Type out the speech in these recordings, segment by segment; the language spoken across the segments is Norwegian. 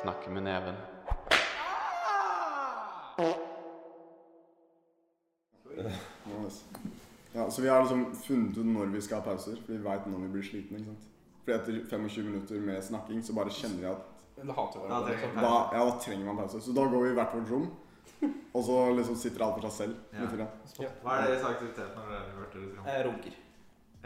Snakke med neven. Nice. Ja, så vi har liksom funnet ut når vi skal ha pauser, for vi veit når vi blir slitne. ikke sant? Fordi etter 25 minutter med snakking så bare kjenner jeg at Men det hater Ja, det hverandre. er liksom. sant. da, ja, da trenger man pause. Så da går vi i hvert vårt rom, og så liksom sitter alle for seg selv. Ja. litt grann. Hva er deres aktivitet når dere har vært dere skal? Jeg Eh, runker.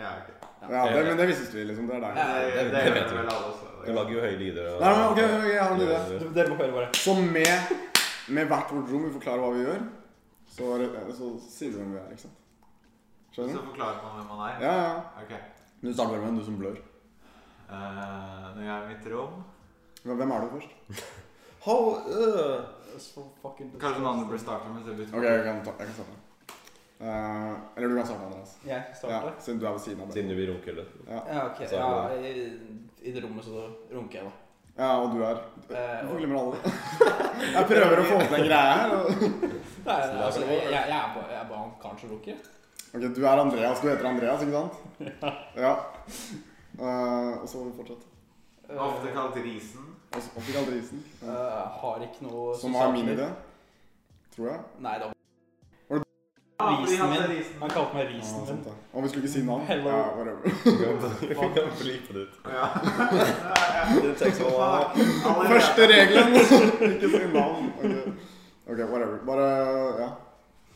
Ja, ok. Ja, det, men det visste vi, liksom. Det er deg. Ja. det- Det det gjør vet dere vi. vel alle også. Du lager jo høye lyder. og- Nei, men ok, ok, jeg har en idé. Dere må høre bare. Så med, med hvert vårt rom, vi forklarer hva vi gjør, så, eh, så sier vi hvem vi er, ikke sant. Skjønner du? Så forklarer man hvem man er. Ja, ja. Ok. Du starter bare med en, du som blør. Eh, når jeg er i mitt rom Men Hvem er du først? How, øh. Kanskje noen andre burde starte med det. Ok, jeg kan, ta, jeg kan starte. Eh, eller du kan starte, Andreas. Jeg Ja, starter. siden du er ved siden av det. Siden du vil runke litt. Ja, ok. Så er Ja, i, I det rommet så runker jeg, da. Ja, og du er Eh, og- Hvorfor glemmer alle det? Jeg prøver å få til en greie her. og- Nei, Så det er altså, vel- jeg, jeg, er bare, jeg er bare han karen som runker. jeg. Ok, Du er Andreas. Du heter Andreas, ikke sant? Ja. Eh, og så må vi fortsette. Ofte kalt Risen. Og så og fikk aldri isen. Eh, har ikke noe Som var min sosialt- idé. Tror jeg. Nei, da. Ja, Ah, fordi Risen han er min. Risen. Han kalte meg Ja, risen sant min. det. Og vi skulle ikke si navn. Hello. Ja, whatever. Du kan- du kan flipe det ut. Ja. Det tar ikke så mange. Allerede. Første regelen! ikke si navn. Ok, Ok, whatever. Bare Ja.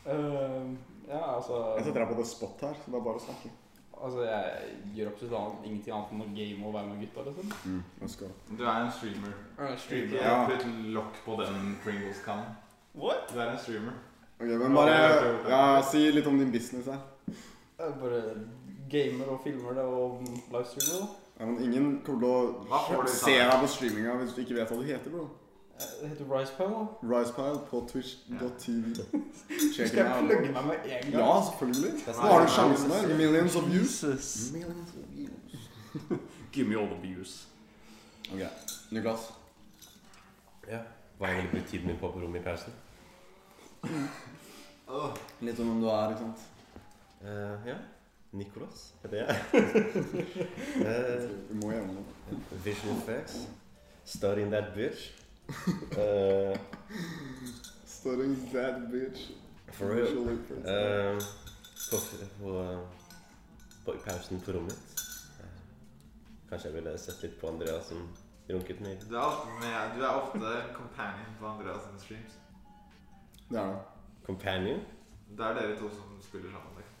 Eh, ja, altså Jeg setter deg på the spot her, så det er bare å snakke. Altså, jeg gjør absolutt annet- ingenting annet enn å game og være med gutta, liksom. Let's go. Du er en streamer. Ikke Ja. putt lokk på den Pringles-kannen. What? Du er en streamer. Ok, men bare ja, Si litt om din business her. Jeg bare gamer og filmer det og livestreamer det. Ja, men ingen kommer til Hva å får du ut av se det? deg på streaminga hvis du ikke vet hva du heter, bro. da. Eh, Det heter Ricepile. Ricepile på twitch.tv. Skal Check it jeg out. plugge meg med en gang? Ja, selvfølgelig. Det er Nå har du sjansen der. Millions of sånn views. Jesus. Give me all the views. Ok, Niklas. Ja. Hva egentlig blir tiden min på på rommet i pausen? Åh, Litt om hvem du er, ikke sant? Eh, ja. Nicolas heter jeg. Eh, Du må gjøre noe. visual effects. Studying that bitch. Eh, Stuttering that bitch. for real. Visual effects. Eh, på, på, eh, på i pausen på rommet mitt. Eh, Kanskje jeg ville sett litt på Andreas som runket mer. Du er ofte, med, du er ofte companion på Andreas sine streams. Det er det. Companion. Det er dere to som spiller sammen. Liksom.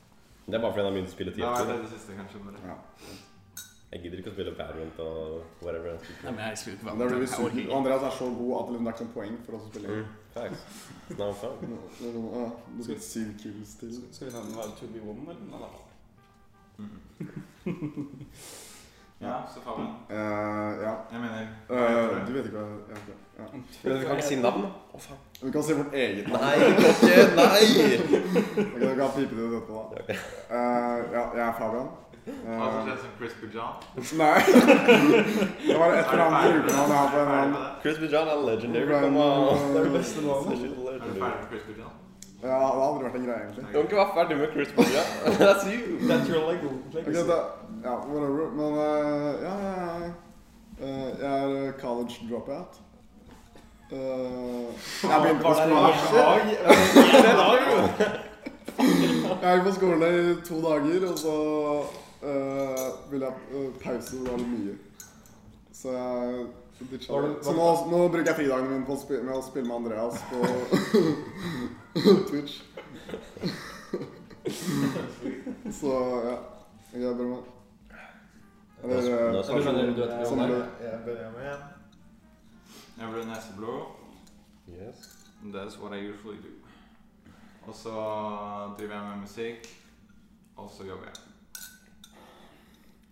Det er bare fordi han har begynt å spille Det er TFT. det det siste, kanskje. Men det. Ja. Jeg gidder ikke å spille Valorant og whatever. han spiller. Nei, men jeg skulle ikke Men Det blir vi sur. Og Andreas er så god at det liksom er ikke noe poeng for oss å spille. Mm, facts. It's not fun. Nå- nå- nå- ja, Du skal syv kills til. Skal vi nevne være to be woman, eller? Nei, da. Ja, så Fabian. Eh, ja. Jeg mener Eh, du vet ikke hva jeg heter. Ja. Men vi kan ikke si navn. Å, faen. Vi kan si vårt eget navn. Nei, vi kan ikke! Nei! Vi kan, vi kan pipe det ut etterpå. da. Eh, ja, jeg er Fabian. Eh, Hva som skjer som Crispy John? nei. det var et eller annet brukernavn jeg har på en eller ferdig annen med det? Crispy John er legendary. Brian, Come on. Det er det beste navnet. She's Er du legendary. ferdig med Crispy John? Ja, det har aldri vært en greie, egentlig. Du kan ikke være ferdig med Crispy John. That's you. That's your leg Ok, da, ja, whatever. Men eh, ja, ja, ja. Eh, jeg er eh, college dropout. Eh, Oh, jeg begynte på skolen Jeg gikk på skolen i to dager, og så eh, ville jeg eh, pause var litt mye. Så jeg ditcha det. Så nå, nå bruker jeg fridagene mine på å spille, med å spille med Andreas på Twitch. så ja. Jeg er bra med. Eller Nå eh, snakker vi. skjønner du at sånn Nei. det Jeg begynner med igjen. Jeg ble neseblå. Yes. That's what I usually do. Og så driver jeg med musikk, og så jobber jeg.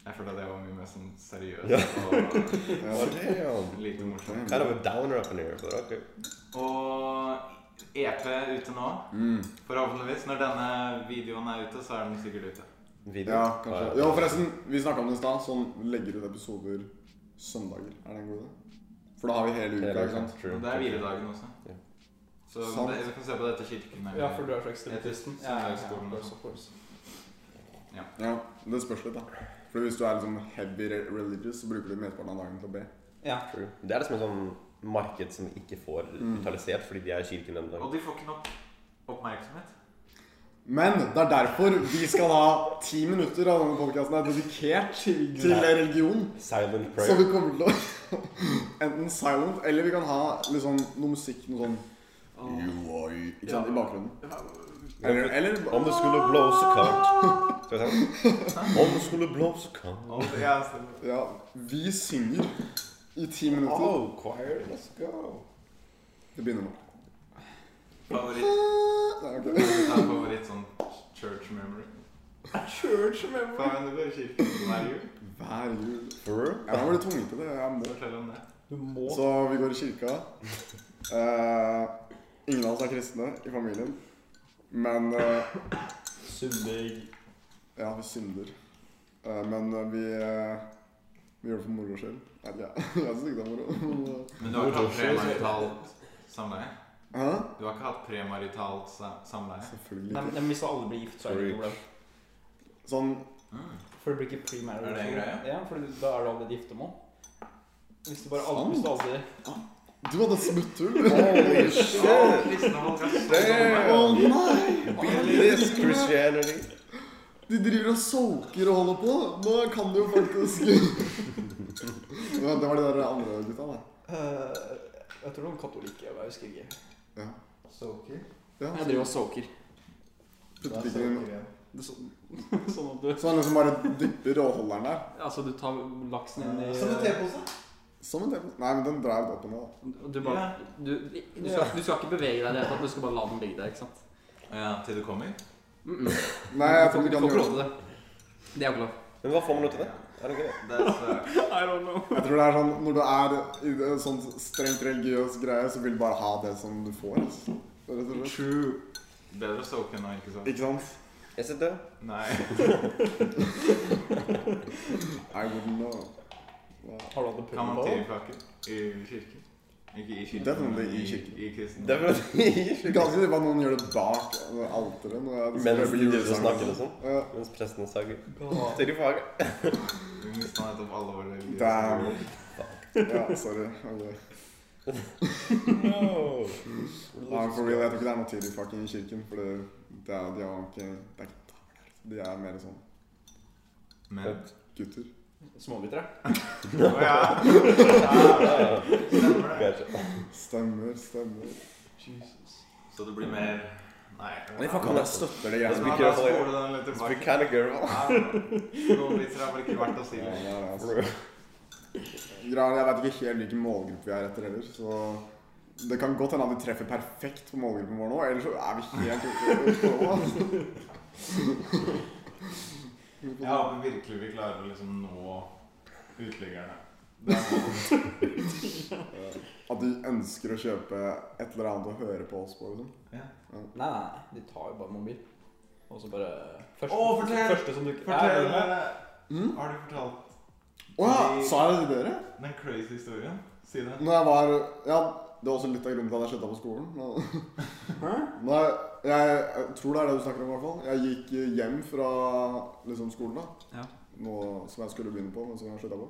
Jeg følte at det var mye mer sånn seriøst Ja. og ja. Oh, damn. lite morsomt. Kind of a downer up in here, but okay. Og EP er ute nå, Mm. forhåpentligvis. Når denne videoen er ute, så er den sikkert ute. Video. Ja, kanskje. Jo, forresten, vi snakka om det i stad. Sånn legger ut episoder søndager. Er det en god idé? For da har vi hele uka, ikke sant? True. Men det er hviledagen også. Ja. Så Sant. det, vi kan se på dette kirken. Ja, for du er slags studentisten. Ja, ja, ja, of course, of Ja, Det spørs litt, da. For hvis du er liksom heavy re- religious, så bruker du mesteparten av dagen til å be. Ja. True. Det er liksom en sånn marked som ikke får Mm. brutalisert fordi de er kirken denne dagen. Og de får ikke nok oppmerksomhet. Men det er derfor vi skal ha ti minutter av denne podkasten er dedikert til religion. Silent Så vi prayer. kommer til å Enten silent, eller vi kan ha liksom, noe musikk, noe sånn Ah. You are Ikke sant, i bakgrunnen. Eller, eller Om det skulle blåse kaldt. Skal vi se. Om det skulle blåse kaldt. Og det er så- Ja, vi synger i ti minutter. Oh, choir, let's go. Det begynner nå. favoritt, Nei, ok. det er favoritt sånn church memory. Church memory. Faen, du går i kirken hver jul. Hver jul. For real? Jeg blir tvunget til det. Jeg må. Fortell om det. Du må Så vi går i kirka. Eh, ingen av oss er kristne i familien. Men eh, Sundig. Ja, vi synder. Eh, men eh, vi, eh, vi gjør det for moro skyld. Eller, ja, jeg syns ikke det er moro. men, eh, Men du har ikke hatt premaritalt samleie? Hæ? Du har ikke hatt premaritalt sa- samleie? Selvfølgelig Nei, ikke. men hvis alle blir gift, så er det ikke noe problem. Sånn Mm. For det blir ikke premarital. Er det en greie? Ja, for da er du allerede gifta nå. Hvis du bare aldri, hvis du aldri Du hadde smutthull! Holy Å, shit! kristne folk er så Damn! dumme. Å nei! Beat this Christianity. De driver og soaker og holder på. Nå kan du jo faktisk Men Det var de der andre gutta, da. Eh, Jeg tror noen katolikker, jeg husker ikke. Ja. Soaker? Ja, Jeg driver og soaker. Det er putter pikken inn. soaker igjen. Det er sånn, sånn at du Så han liksom bare dypper og holder den der. Altså, du tar laksen inn i tepose? Som Sånn en TV. Nei, men den dreiv opp og ned. da. Du, bare, du, du, skal, du skal ikke bevege deg i det hele tatt, du skal bare la den ligge der, ikke sant? Ja, til du kommer? Mm -mm. Nei, jeg tror du får ikke han ikke lov gjør til det. det. Det er jo ikke lov. Men hva får man ut av det? Er det ikke det? Det er så... I don't know. Jeg tror det er sånn når du er i en sånn strengt religiøs greie, så vil du bare ha det som du får. Altså. Rett og slett. True. Bedre å soake enn å ikke soake. Ikke sant? Jeg sitter der. Nei. I wouldn't know. Wow. Har du hatt en Kan man pulver på? tyrefake i kirken? Ikke i kirken, sånn Definitely men i kirken. I kristen. Det er for at Det er ganske sikkert at noen gjør det bak alteret. når jeg- Mens jeg blir de driver og julesangen. snakker og sånn. Ja. Mens prestene sager. Ja. Til i faget. Vi mista nettopp alle våre religiøse Damn. ord. Ja, sorry. Ok. No. Nei, for real, jeg tror ikke det er noe tid i fucking kirken, for det, det er, de har ikke det er ikke tavler. De er mer sånn Men gutter. Smågutter, ja. Å ja. ja. Stemmer det. Gotcha. Stemmer, stemmer. Jesus. Så det blir mer Nei. Nei, fuck, han er støtt. Det er det Ja, Jeg greiene. da spiller ikke bare spole den litt It's tilbake. kind of girl. Ja, Godbiter er vel ikke verdt å si. Ja, det er det, altså. Bro. Gran, jeg vet ikke helt hvilken målgruppe vi er etter heller, så det kan godt hende at vi treffer perfekt på målgruppen vår nå, ellers så er vi helt ute på nå. altså. Jeg håper virkelig vi klarer å liksom nå uteliggerne. Det er målet. At de ønsker å kjøpe et eller annet å høre på oss på, liksom. Ja. Nei, nei, nei, de tar jo bare mobil. Og så bare første, Å, fortell! første som du Fortell Ja, eh, Mm. Har du fortalt Å ja, sa jeg det til dere? den crazy historien? Si det. Når jeg var Ja, det var også litt av grunnen til at jeg slutta på skolen. men- Når jeg, jeg, jeg tror det er det du snakker om, i hvert fall. Jeg gikk hjem fra liksom, skolen, da. Ja. Noe som jeg skulle begynne på, men som jeg slutta på.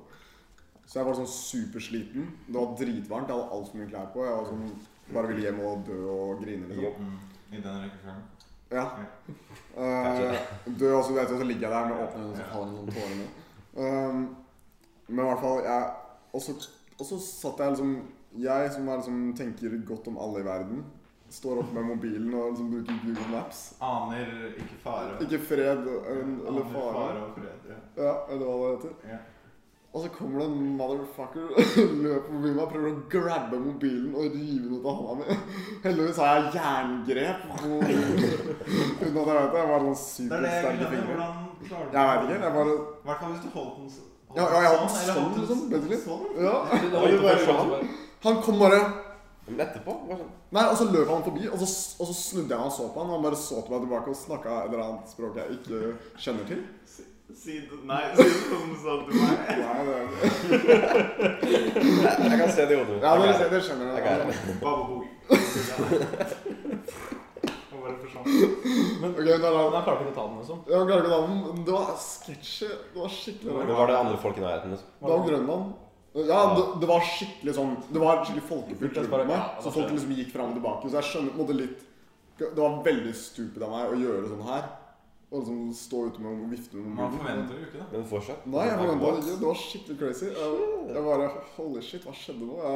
Så jeg var sånn supersliten. Det var dritvarmt, jeg hadde altfor mye klær på. Jeg var sånn, bare ville hjem og dø og grine. Liksom. Mm. I den rekkefølgen. Ja. Eh, du også vet jo, så ligger jeg der med åpne øyne og så faller det noen tårer ned. Um, men i hvert fall jeg, og, så, og så satt jeg liksom Jeg som er liksom, tenker godt om alle i verden, står oppe med mobilen og liksom bruker Google Maps. Aner ikke fare. Ikke fred en, eller Aner fare. fare og fred. Ja. Ja, eller hva det heter. Ja. Og så kommer det en motherfucker løper forbi meg, prøver å grabbe mobilen og rive den ut av hånda mi. Heldigvis har jeg jerngrep. Uten at jeg vet det. Jeg var sånn Det er det jeg supersterk i glemmer. fingrene. Hvordan klarer du Jeg vet ikke. Jeg bare I hvert fall hvis du holdt den så- holdt Ja, ja, den jeg holdt eller sånn, den liksom, basically. sånn. Ja. Det Og var du ikke bare første, sa- så bare- sånn. Han kom bare Men etterpå var sånn Nei, og så løp han forbi, og så, og så snudde jeg meg og så på han. Og han bare så til meg tilbake og snakka et eller annet språk jeg ikke kjenner til. Si det Nei, si det som du sa til meg. Nei, det, Jeg jeg kan se det i hodet mitt. ja, det, Ok. det skjønner Jeg jeg. er Bababoi. Og bare forsvant. Men Ok, da la men han klarte ikke å ta den, liksom. Jeg klarer ikke å ta den. Det var sketsjy. Det var skikkelig Men rart. var det andre folk i nærheten? liksom? Det var Grønland. Ja, det, det var skikkelig sånn Det var skikkelig folkefullt Fullt, rundt meg. ja, Så folk liksom gikk fram og tilbake. Så jeg skjønner på en måte litt Det var veldig stupid av meg å gjøre sånn her. Og liksom stå ute med og vifte med Man mobilen. forventer jo ikke det. Men fortsatt. Nei, jeg forventet ikke. Det var skikkelig crazy. Jeg, jeg bare Holy shit, hva skjedde nå? Jeg,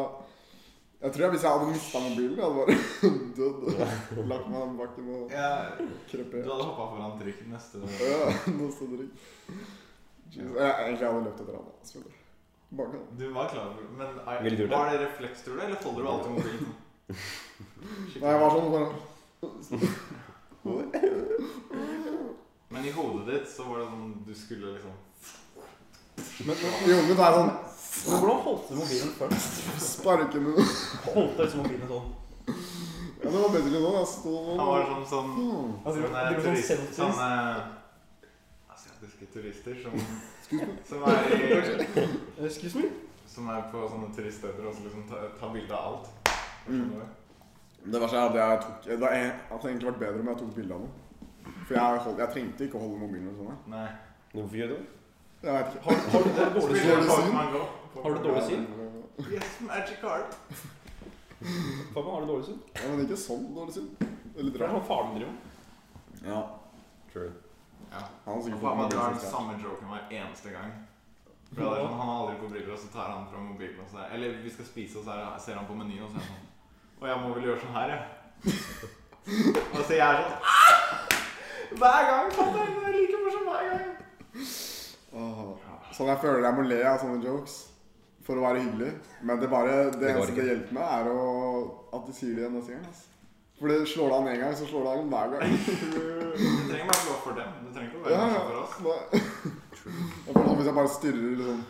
jeg tror jeg, hvis jeg hadde mista mobilen, jeg hadde bare dødd. Lagt meg på bakken og Jeg, du krepet. hadde hoppa foran trikken neste Ja, noe så dritt. Jeez. Jeg, egentlig hadde jeg løpt etter han. da, selvfølgelig. Bak han. Du var klar over men er, Ville du gjort det? Var det refleks, tror du, eller holder du alltid mobilen? Nei, jeg var sånn bare Men i hodet ditt så var det sånn du skulle liksom Men men i hodet mitt er det sånn Men Hvordan holdt du mobilen først? Sparke med noe. Holdt du liksom mobilen sånn? Ja, det var bedre nå. Jeg sto Han var sånn sånn Hmm. Altså, det sånne, var sånn turist, selfies. sånne asiatiske turister som, Excuse me. som, er i, Excuse me? som er på sånne turiststeder og så liksom tar ta bilde av alt. Mm. Det verste er at jeg tok Det hadde egentlig vært bedre om jeg tok bilde av noe. For jeg, hold, jeg trengte ikke å holde mobilen og sånn. her. Nei. Hvorfor gjør du det? Jeg vet ikke. Har, har du dårlig Spiller syn? du syn? Har du dårlig syn? Yes, magic card. Fabian, har du dårlig syn? Ja, men ikke sånn dårlig syn. Eller Det er drar. sånn faren min driver med. Ja. True. Ja. Han har Og sikkert faen meg drar den sist, ja. samme joken hver eneste gang. For det er sånn, Han har aldri på briller, og så tar han fram mobilen. Og så er, eller vi skal spise, og så er, ser han på menyen, og så er han sånn Å, jeg må vel gjøre sånn her, jeg. og så jeg er sånn «Ah!» Hver gang! faen, det er like morsomt hver gang. Åh. Sånn jeg føler jeg må le av sånne jokes for å være hyggelig. Men det, bare, det, går eneste ikke. det hjelper meg, er å, at de sier det igjen neste gang. Altså. For det slår det an én gang, så slår det an hver gang. Du trenger bare slå for dem. Du trenger ikke å være Ja, ja. morsom for oss. Nei. Jeg føler at Hvis jeg bare stirrer liksom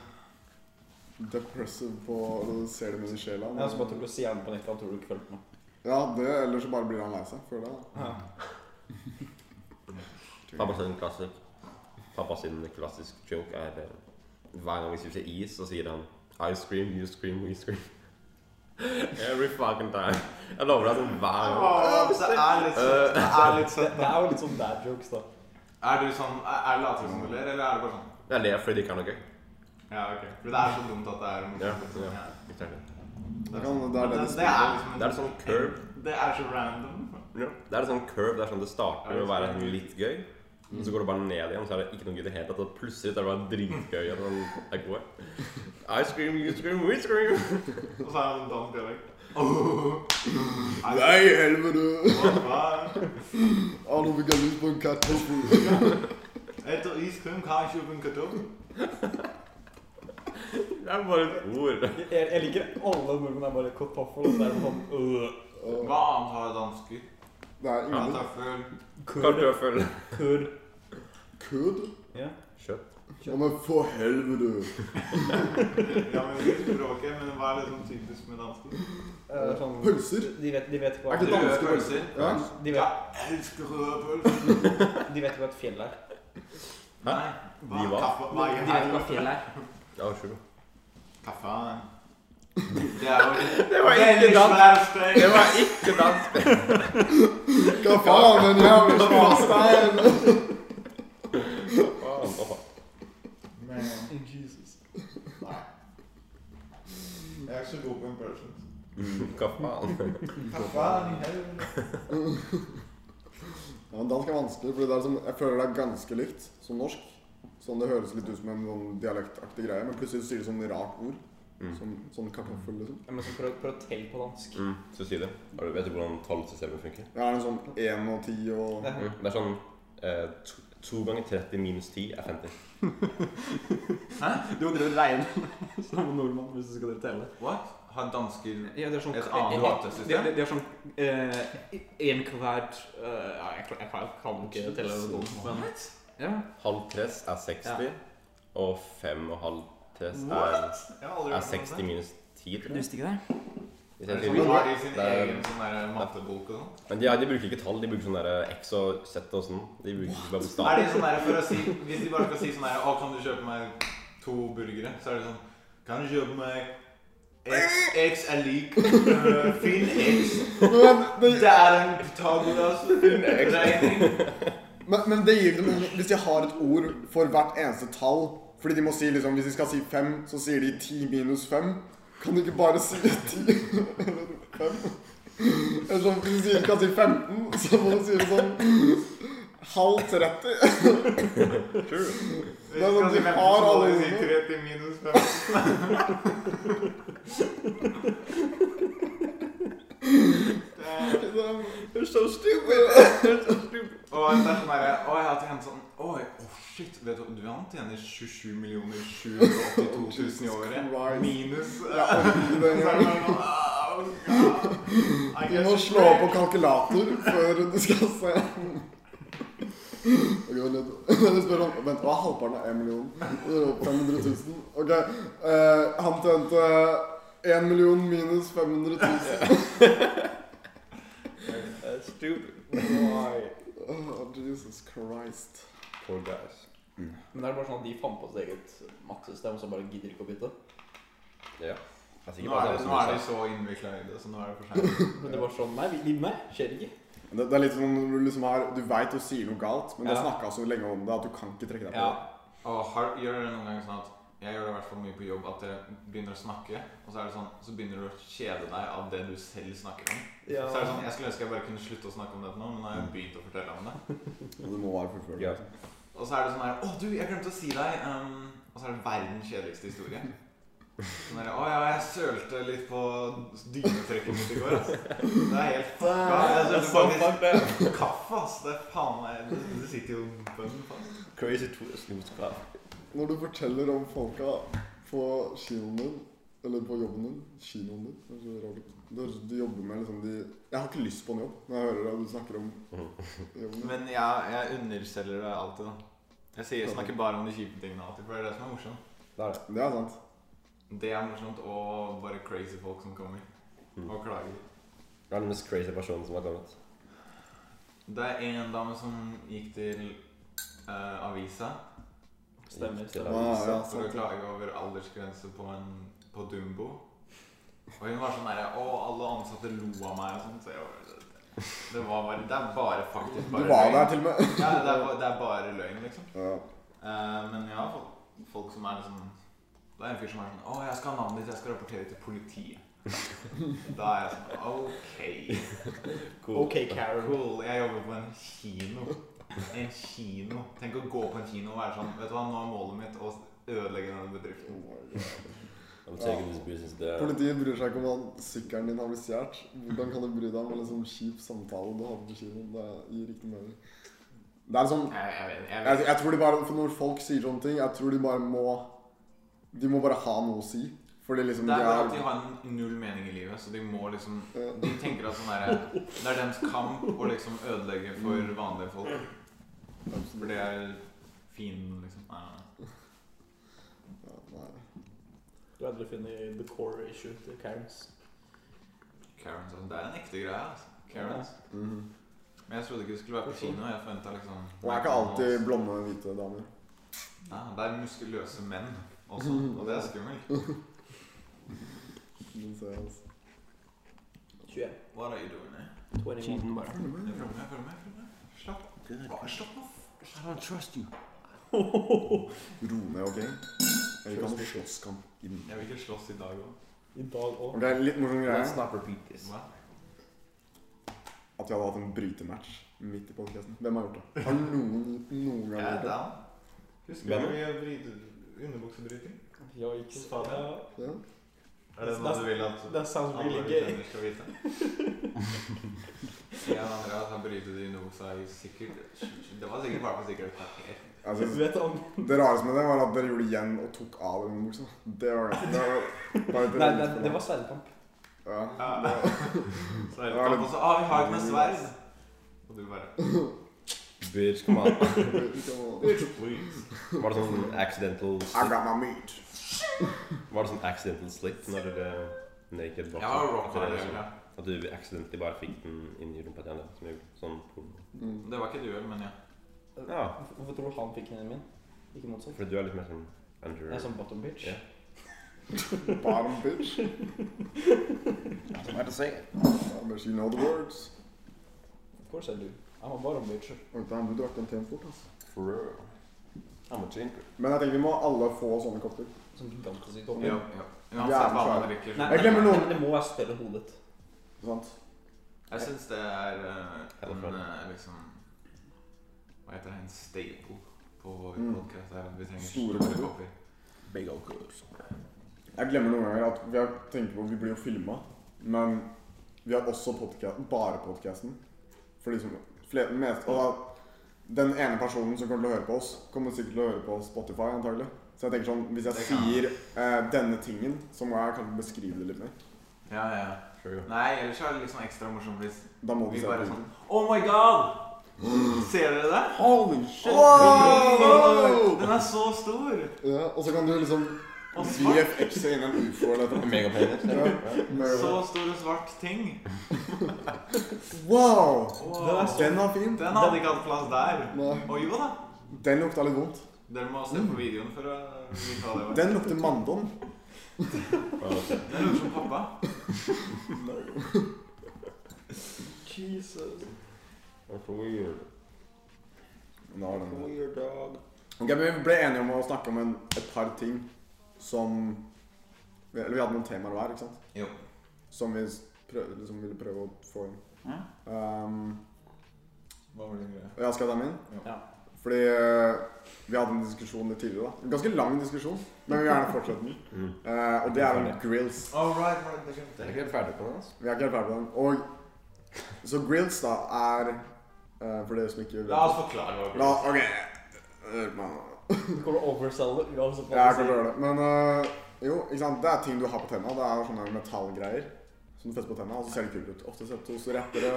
depressive på og ser det med i sjela Jeg også bare tror du sier han på nettet, han tror du ikke følte meg. Ja, det, eller så bare blir han lei seg. Føler jeg. Ja. Pappa sin klassik. Pappa sin klassisk joke er eh, hver gang vi spiser is, så sier han I scream, you scream, we scream. Every fucking time. Jeg lover deg sånn hver gang. Åh, Det er litt søtt. Det er litt Det, søtt. det er jo litt sånn dad jokes, da. Er du sånn Er er det latere som du ler, eller er det bare sånn Jeg ler fordi det ikke er noe gøy. Ja, ok. For det er så dumt at det er Ja, morsomt. ja. Ja. Ikke sant? Det er sånn. Ja, men det er det det det er liksom en Det er sånn curve. Det er så random. Ja. Det er sånn curve, det er sånn det starter Mm. med å være sånn litt gøy. Og så går det bare ned igjen, så er det ikke noe gøy i det hele tatt. og Plutselig er det bare dritgøy. og Sånn, det er gode. I scream, you scream, we scream. Og så er han en dansk dialekt. Åh. Nei, helvete! Hva? Alle fikk jeg lyst på en kattepose. Etter iskrem kan jeg kjøpe en kartong. Det er bare et ord. Jeg, jeg liker alle nordmenn er bare kartoffel, og så er det sånn øh, Åh, Hva annet har dansker? Det er ingen Kartoffel. kurr, Kartoffel. kurr. kødd. Ja. Kjøtt. Ja, men for helvete! Ja, men vi språket, men hva er det som typisk med dansken? Eh, Sånn, Pølser? De vet, de vet ikke Er ikke hva Røde danske pølser. Ja. de Ja, vet, jeg elsker røde pølser. de vet ikke hva et fjell er. Hæ? Nei. Hva? De hva? Kaffe? De Hva vet er ikke hva det? et fjell er. Ja, sure. Kaffe? Det er jo Det var ikke Veldig dansk. svær stein. Det var ikke dansk. Hva faen, den jævla smastein? Faen, hva faen. Jesus. Nei. Jeg er ikke så god på impressions. Mm, Hva faen? Kaffe i helvete. Ja, men Dansk er vanskelig, fordi det er som, jeg føler det er ganske likt som norsk. Sånn Det høres litt ut som en sånn dialektaktig greie, men plutselig sier de sånn rart ord. Mm. Som, sånn kartoffel, liksom. Ja, men så prøv, prøv å telle på dansk. Mm, Cecilie, har du- vet du hvordan tallsystemet funker? Jeg er en sånn 1 og 10 og Mm. Det er sånn eh, to, to ganger 30 minus 10 er 50. Du må drive og regne som nordmann hvis du skal drive telle. What? Har dansker Ja, det er sånn, Et annet det, ratesystem? det, det er sånn eh, en kvart eh, ja, jeg, kan- jeg kan- kan ikke telle noen, men ja. Halv tress er 60, og fem og halv tress er, What? Jeg har aldri er hørt om 60 det. minus 10, tror jeg. visste ikke det? Hvis Er jeg det sier sånn, det. de har de sin Det er- egen sånn der mattebok og sånn? Men de, de bruker ikke tall, de bruker sånn der X og Z og sånn. De bruker Er bare bokstaver. det sånn der for å si Hvis de bare skal si sånn der Å, kan du kjøpe meg to burgere? Så er det sånn Kan du kjøpe meg X, X er lik øh, Finn X. men, det, Det er en Pythagoras regning. men, men det gir dem Hvis de har et ord for hvert eneste tall, Fordi de må si liksom Hvis de skal si fem, så sier de ti minus fem. Kan de ikke bare si ti eller fem? Eller sånn, hvis de ikke kan si 15, så må de si det sånn halv 30. Hvis du skal si de 15, har så må alle du si ordene. 30 minus 5. Det er- You're so stupid! Og det er sånn derre Å, jeg tjener sånn Oi, oh shit. Vet du, du han tjener 27 millioner 782 000 i året. Christ. Minus Ja, og det Så en er gang. det sånn, «Au, God, I Du må guess slå på kalkulator før du skal se. Ok, vent litt. Du spør om Vent, hva er halvparten av 1 million? Og det er opp 500 000. Ok, eh, han tjente 1 million minus 500 000. stupid. Åh, Jesus Christ. Poor guys. Men det er bare sånn at de fant på sitt eget mattesystem, som bare gidder ikke å bytte. Ja. Det er sikkert Nå bare er, det, sånn nå er de som så innvikla i det, så nå er det for seint. Men det var sånn Nei, vi gidder meg. Skjer ikke. Det, det er litt sånn når du liksom har Du veit du sier noe galt, men du Ja. har snakka så lenge om det at du kan ikke trekke deg Ja. på det. Og har, gjør dere noen ganger sånn at jeg gjør det i hvert fall mye på jobb at jeg begynner å snakke, og så er det sånn, så begynner du å kjede deg av det du selv snakker om. Ja. Så er det sånn, Jeg skulle ønske jeg bare kunne slutte å snakke om dette nå, men nå har jeg begynt å fortelle om det. Og du må være fullført. Ja. Og så er det sånn her Å, du, jeg glemte å si deg ehm», Og så er det verdens kjedeligste historie. Sånn her, Å ja, jeg sølte litt på dynetrekket mitt i går, ass. Det er helt fucka. Jeg sølte faktisk kaffe, ass. Det er faen meg Det, det sitter jo bønn fast. Crazy twist, Lutskap. Når du forteller om folka på kinoen din, eller på jobben din, kinoen din det er så rart. Du, du jobber med liksom de Jeg har ikke lyst på en jobb når jeg hører at du snakker om Mhm. jobben din. Men jeg, jeg underselger det alltid, da. Jeg sier, snakker bare om de kjipe tingene alltid, for det er det som er morsomt. Det er det. Det er sant. Det er morsomt, og bare crazy folk som kommer Mm. og klager. Det er den mest crazy personen som har kommet. Det er en dame som gikk til eh, avisa. Stemmer, Til stemmer. avisen. Ah, ja, for å sant. klage over aldersgrense på, en, på Dumbo. Og hun var sånn derre Å, alle ansatte lo av meg og sånt. Så jeg var, det, det var bare Det er bare faktisk Du bare var løgn. der til og med. Ja, det er, bare- det er bare løgn, liksom. Ja. Eh, men jeg har fått folk som er liksom Det er en fyr som er sånn Å, jeg skal ha navnet ditt, jeg skal rapportere til politiet. da er jeg sånn OK. Cool. OK, Karen. Cool. Jeg jobber på en kino. En kino. Tenk å gå på en kino og være sånn Vet du hva, nå er målet mitt å ødelegge denne bedriften. Oh my God. I'm taking this business there. Politiet bryr seg ikke om at sykkelen din har blitt stjålet. Hvordan kan du bry deg om en liksom kjip samtale du hadde på kinoen? Det gir ikke mening. Det er sånn Jeg, jeg, vet- jeg, jeg, vet- jeg tror de bare, for Når folk sier sånne ting, jeg tror de bare må De må bare ha noe å si. Fordi liksom det er bare at de de er har en null mening i livet, så de må liksom Ja. De tenker at sånn derre Det er deres kamp å liksom ødelegge for vanlige folk. For det er fin liksom Nei, nei, nei. Ja, nei. Du hadde funnet the core issue til Karens. Karens altså. Det er en ekte greie, altså. Karens. Mhm. Men jeg trodde ikke du skulle være på kino. Jeg forventa liksom Og er ikke alltid blonde, hvite damer. Nei, Det er muskuløse menn også, og det er skummelt. Den ser jeg, altså. 21. What are you doing here? 21 bare. Jeg følger med, jeg følger med. jeg følger med. Slapp av. Slapp av. Ro ned, OK? Jeg vil ikke ha noe slåsskamp inn. Jeg vil ikke slåss i dag òg. I dag òg. Ok, Litt morsom Let's greie not repeat this. at vi hadde hatt en brytematch midt i podcasten Hvem har gjort det? Har noen noen gang Jeg er gjort det? down. Husker Hvem? du mye bryte- underbuksebryting? Ja, ikke sant. Ja. Ja. Er det noe du vil at That sounds really gay. skal vite? Jeg og Andreas har brytet i underbuksa i sikkert Det var sikkert bare på sikkert et kvarter. Jeg Du synes, vet om Altså, det rareste med det var at dere gjorde det igjen og tok av den buksa. Det var det. Det var, det var, litt Nei, det, rart. det var sverdkamp. ja. Så er det Ja, kamp, det- og så Å, vi har ikke noe sverd! Og du bare Bitch, come on. det var- Var det sånn accidental I slip? got my meat. Var det sånn accidental slip når dere naked Jeg var At rocker. dere det, liksom- ja. At du accidentally bare fikk den inn i rumpa til henne? Som gjorde sånn porno. Mm. Det var ikke duell, men ja. Ja, Hvorfor hvorfor tror du han fikk den min? Ikke motsatt. fordi du er litt mer sånn under... Jeg er sånn bottom bitch. Ja. Bottom bitch. Hva er det å si? Bottom bitch, you know the words. Of course I do. I'm a bottom bitch. Oi, damn, du drakk den teen fort, altså. For real. How much increase? Men jeg tenker vi må alle få sånne kopper. Sånn gigantisk stor. Ja, Nei, ja. Uansett hva man drikker. nei, så- Jeg glemmer nei, noen. Det må være større enn hodet. Sant? Jeg syns det er eh, Eller en fun. eh, liksom Hva heter det? En staple på vår Mm. podcast er at Vi trenger Store store kopper. kopper. Big old cubes. Jeg glemmer noen ganger at vi har tenkt på Vi blir jo filma, men vi har også podcasten, bare podkasten. For de som fle- mest, Og da, den ene personen som kommer til å høre på oss, kommer sikkert til å høre på Spotify, antagelig. Så jeg tenker sånn, hvis jeg Det kan sier eh, denne tingen, så må jeg kanskje beskrive det litt mer. Ja, ja. True. Nei, ellers er det liksom ekstra morsomt hvis Da må du vi se bare på sånn den. Oh my god! Ser dere det? Holy shit! Wow! Den er så stor! Ja, og så kan du liksom Og svart. VFX-e inn en ufo eller noe. Megapenis. Ja. Med- Så stor og svart ting. Wow! Wow. Den var fin. Den hadde ikke hatt plass der. Nei, Og jo da. Den lukta litt vondt. Dere må se på Mm. videoen for å vite hva det var. Den lukter manndom. Uh, Den lukter som pappa. Jesus. That's weird. Nå har den det. Weird dog. Ok, men Vi ble enige om å snakke om en, et par ting som Eller vi hadde noen temaer hver, ikke sant? Jo. Som vi s- prøv, liksom ville prøve å få inn. Mhm. Um, Hva var det greia? og jeg skal ta min. Ja. Fordi eh, vi hadde en diskusjon litt tidligere. da En ganske lang diskusjon, men vi vil gjerne fortsette den. Mm. Eh, og det er om grills. Oh, right, right, det glemte Det er jeg. ikke helt ferdig på den, altså. Vi er ikke helt ferdig på den. Og så grills, da, er eh, For dere som ikke vet La oss forklare hva La, OK. Hør på meg nå. Du kommer til å overselge det uansett Ja, hva jeg kan gjøre det. Men øh, jo, ikke sant? det er ting du har på tenna. Det er sånne metallgreier som du fester på tenna, og så ser det kult ut. Ofte sett hos rappere. Eh,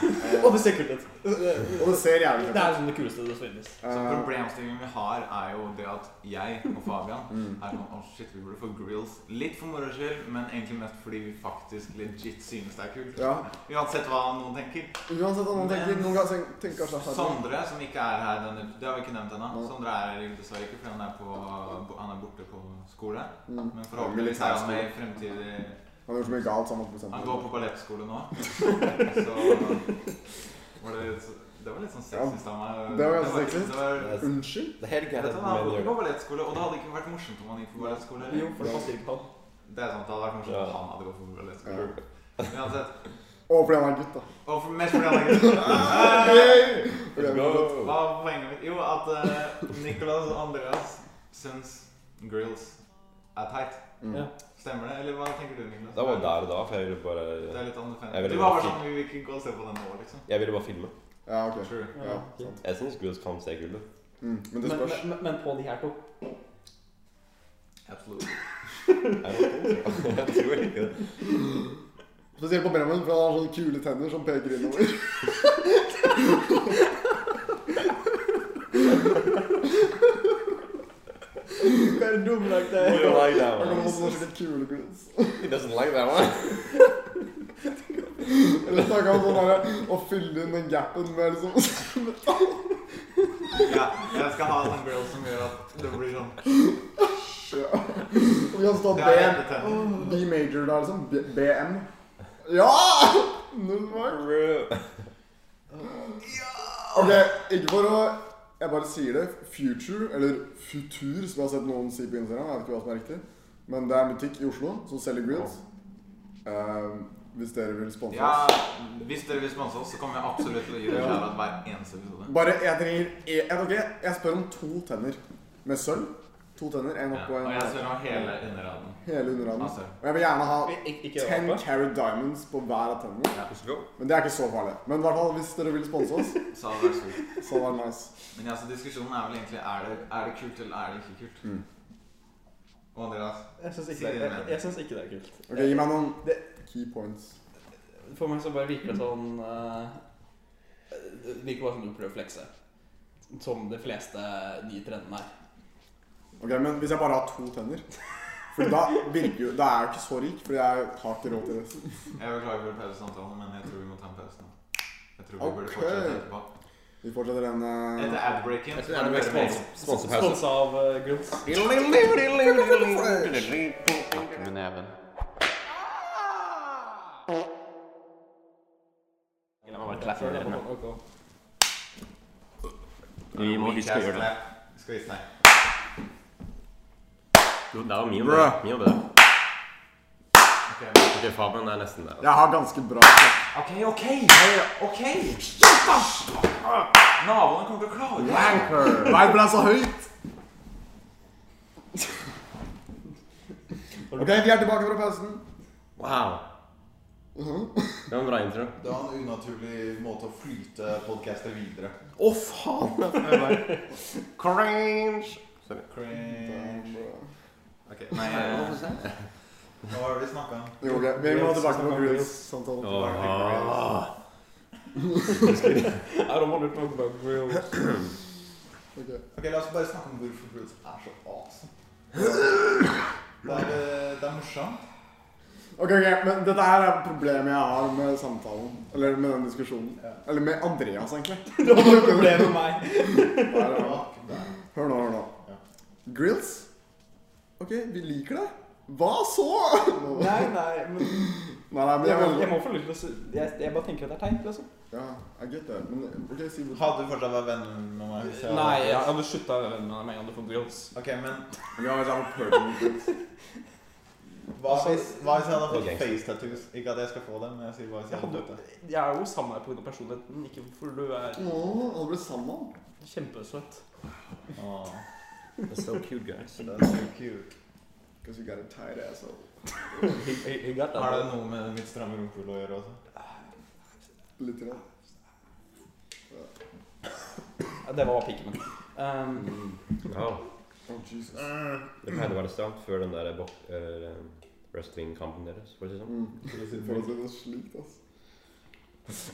sier. Og det ser kult ut. Og det ser jævlig Det kult ut. er liksom det kuleste som finnes. Så Eh, Problemstillingen vi har, er jo det at jeg og Fabian mm. er sånn Å, shit, vi burde få grills. Litt for moro skyld, men egentlig mest fordi vi faktisk legit synes det er kult. Ja, Uansett hva noen tenker. uansett hva noen tenker. Noen ganger tenker- tenker kanskje det er harry. Sondre, som ikke er her denne Det har vi ikke nevnt ennå. Nei. Sondre er her dessverre ikke, fordi han er, på, han er borte på skole. Mm. Men forhåpentligvis er han med i fremtidig Han gjør så mye galt, så han måtte bestemme Han seg. går på ballettskole nå. Så var det, det var litt sånn sexist av meg. Det var ganske ikke- sexist. det var- Unnskyld? Det er helt greit Vet at du, Han menn gikk gjør det. på ballettskole, og det hadde ikke vært morsomt om han gikk på ballettskole. eller? Jo, for det passer ikke på han. Det er sant, det hadde vært morsomt om Ja. han hadde gått på ballettskole. Ja. Uansett. Og fordi han er gutt, da. Og for mest fordi han er gutt. Hey! Hva Let's go! var poenget mitt? Jo, at eh, Nicolas og Andreas syns grills er teit. Mm. Ja. Stemmer det, eller hva tenker du, Nicolas? Det var der og da, for jeg ville Det bare er litt Jeg annerledes. ville Du var bare bare sånn Vi vil ikke gå og se på den nå, liksom. Jeg ville bare filme. Ja, ok. True. Ja, sant. Jeg syns Grills kan se kul ut. Mm. Men det Men, spørs. men, men på de her to Absolutt. Jeg vet ikke. Jeg tror ikke det. Spesielt på Bremen, for han har sånne kule tenner som peker innover. Hva er det dumme lagt der? You like that Han kan få one. sånne skikkelig kule grills. He doesn't like that one. Eller snakka om sånn derre å fylle inn den gapen med liksom Ja, jeg skal ha sånn grill som gjør at det blir sånn Ja. Og vi kan stå Det er BM. helt enig. B major der, liksom. B BM. Ja! Null mark. Ok, ikke for å Jeg bare sier det. Future, eller Futur, som jeg har sett noen si på Instagram. Jeg vet ikke hva som er riktig. Men det er en butikk i Oslo som selger grills. Eh, hvis dere vil sponse Ja, oss. hvis dere vil sponse oss, så kommer jeg absolutt til å gi dere Ja. kjærlighet hver eneste episode. Bare jeg trenger e- jeg, ok, jeg spør om to tenner med sølv. To tenner, én Ja, oppå og jeg en spør om hele underraden. hele underarmen. Altså, Og jeg vil gjerne ha Ik ikke gjør ten det. carat diamonds på hver av tennene. Let's go. Men det er ikke så farlig. Men i hvert fall hvis dere vil sponse oss, så hadde det vært kult. så hadde det vært nice. Men ja, så diskusjonen er vel egentlig er det, er det kult eller er det ikke kult. Mm. Og Andreas, Jeg syns ikke, det- jeg, jeg synes ikke det er kult. Ok, Gi meg noen key points. For meg så bare virker det sånn eh, Det virker bare som du prøver å flekse. Som de fleste nye trendene er. Ok, Men hvis jeg bare har to tenner For da virker jo Da er jeg ikke så rik, for jeg har ikke råd til resten. jeg beklager for pausesamtalen, men jeg tror vi må ta en pause nå. Jeg tror vi burde Ok. fortsette etterpå. Vi fortsetter den eh, Etter ad-breaken Jeg så tror det er er det mest bare mail. spons- sponsepause. Sponsa av uh, Grills. med neven. Jeg må bare klappe Vi må huske å gjøre Recast clap. det. Jeg skal vise deg. Jo, der var min Bruh. ble- Min ble der. Ok, Ok, Fabian er nesten der. Jeg har ganske bra klapp. OK, OK! Hei, OK! Shit, ass! Naboene kommer til å klage. Wanker. Nei, det ble så høyt. Ok, vi er tilbake fra pausen. Wow. Det var en bra intro. Det var en unaturlig måte å flyte podcaster videre. Å, faen! Cringe! Sorry. Cringe. Ok. Nei, eh, hva var det vi snakka om? Jo, ok. Vi må tilbake til Grylls-samtalen. Åh. Her har man lurt på bug reels. Ok. Ok, La oss bare snakke om hvorfor Bruce er så awesome. Det er, eh, det er morsomt. Ok, ok, men Dette her er problemet jeg har med samtalen. Eller med den diskusjonen. Ja. Eller med Andreas, egentlig. Du har et problem med meg. Der, Det ja. var ikke det. Hør nå, hør nå. Ja. Grills? Ok, vi liker det. Hva så? nei, Nei, nei, men nei, men jeg jeg må, mener jeg må få lyst til å si jeg, jeg bare tenker at det er teit, liksom. Ja, I get that. Men ok, si hvor Hadde du fortsatt vært venn med meg? hvis jeg hadde- Nei, jeg hadde slutta å være venn med deg med en gang du får grills. Ok, men Ja, jeg har hørt om Grills. hva hvis, hva hvis jeg hadde fått Ok. face tattoos? Ikke at jeg skal få dem, men jeg sier hva hvis jeg Jeg, hadde hadde, fått det. jeg er jo sammen med deg pga. personligheten, ikke for du er Nå, alle ble sammen. kjempesøt. Åh, That's so cute, guys. that's so cute. Because you got a tight asshole. Jeg- jeg- jeg got that. Har det noe med mitt stramme rumpehull å gjøre også? Litt grann. Ja, Det var pikken min. Um, Ja. Oh, Jesus. Det pleide å være stramt før den der bok... eh, wrestlingkampen deres, for å si det sånn. Mm. For å si det slik, ass.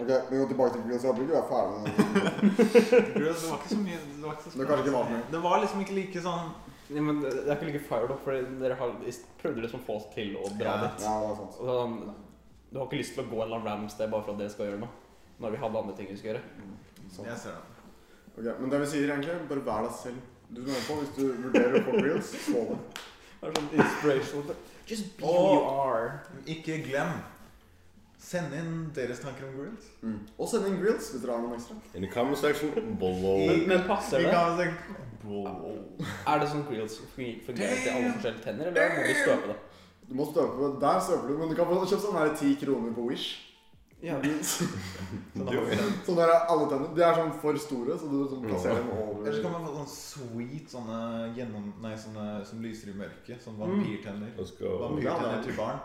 Ok, vi går tilbake til Grills. Jeg blir ikke være ferdig med den. Girls, det var ikke så mye Det var, ikke så Det var kanskje ikke vanlig. Det var liksom ikke like sånn Nei, men det det er ikke like fired up, for dere har, prøvde liksom å få oss til å dra Ja. dit. Ja, det er sant. Og sånn, du har ikke lyst til å gå en eller annen random sted bare for at dere skal gjøre noe. Når vi hadde andre ting vi skulle gjøre. sant. Jeg ser det. Mm, sånn. Ok, Men det vi sier egentlig, bare vær deg selv. Du som hører på, hvis du vurderer å få reels, få det. Det er sånn inspirational. Just be who Åh. you are. Ikke glem Send inn deres tanker om grills. Mm. Og send inn reels hvis dere har noen ekstra. In the comment section below. Men, men passer Vi det? kan tenke Wow. Er det sånn grills fun- fungerer til alle forskjellige tenner, eller må du støpe det? Du må støpe på Der støper du, men du kan få kjøpt sånn her 10 kroner på Wish. Ja. Sånn der er alle tenner. De er sånn for store, så du sånn plasserer dem Eller så kan over. man få sånn sweet sånne gjennom... Nei, sånne som lyser i mørket. Sånn vampyrtenner. Let's go. Ja, Vampyrtenner det er- til barn.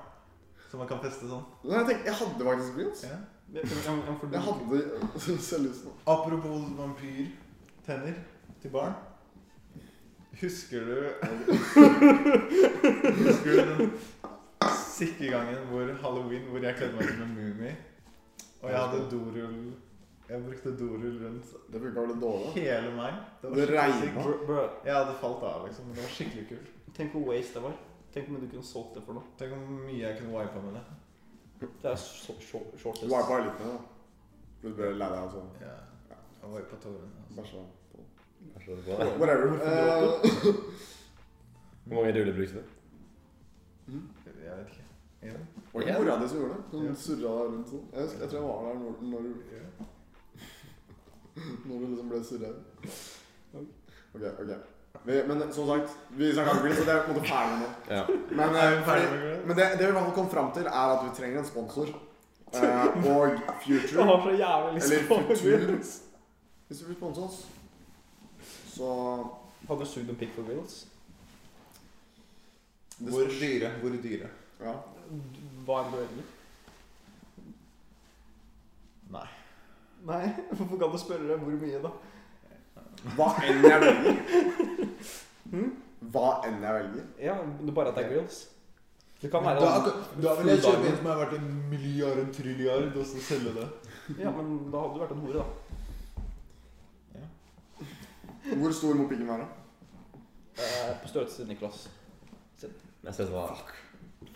Som man kan feste sånn. Nei, jeg, tenkte, jeg hadde faktisk reels. Ja. Men- men- men for du- Jeg hadde selvlysten. Apropos vampyrtenner til barn. Husker du Husker du den sikke gangen hvor halloween hvor jeg kledde meg som en mumie? Og jeg hadde dorull Jeg brukte dorull rundt Det funka vel litt dårlig? hele meg. Det skikkelig regnet. sykt. Bro, bro, Jeg hadde falt av, liksom. men Det var skikkelig kult. tenk hvor waste det var. Tenk om du kunne solgt det for noe. Tenk hvor mye jeg kunne wipa med det. Det er så, short, Du shortest. var bare litt med, da. Du ble lei deg og sånn. Ja. Jeg wipa tårene. altså. Bæsja på Vær så god. Whatever. Eh, Hvor mange ruller brukte du? Jeg vet ikke. En? Var det ikke mora di som gjorde det? Ja. Hun surra deg rundt sånn. Jeg, husker, jeg tror jeg var der når, når du Ja. Når du liksom ble surra. Ok, ok. Vi, men som sagt, vi snakka ikke så det er på en måte ferdig nå. Ja. Men, Er vi eh, ferdig fordi, med det? men det, det vi i hvert fall kom fram til, er at vi trenger en sponsor. Eh, og Jeg Future, har så jævlig lyst eller på Futur, grills. hvis du vil sponse oss. Så Hadde du sugd en pikk for grills? det- Hvor dyre? Hvor dyre? Ja. Hva enn du velger. Nei. Nei, hvorfor kan du spørre deg hvor mye, da? Hva enn jeg velger. Hmm? Hva enn jeg velger. Ja, det er bare at det er grills. Det kan være Da, sånn- da vil jeg kjøpe en som er verdt en milliard, en trilliard, og så selge det. Ja, men da hadde du vært en hore, da. Hvor stor må pikken være? Eh, på størrelse til Niklas. Jeg ser hva. Fuck.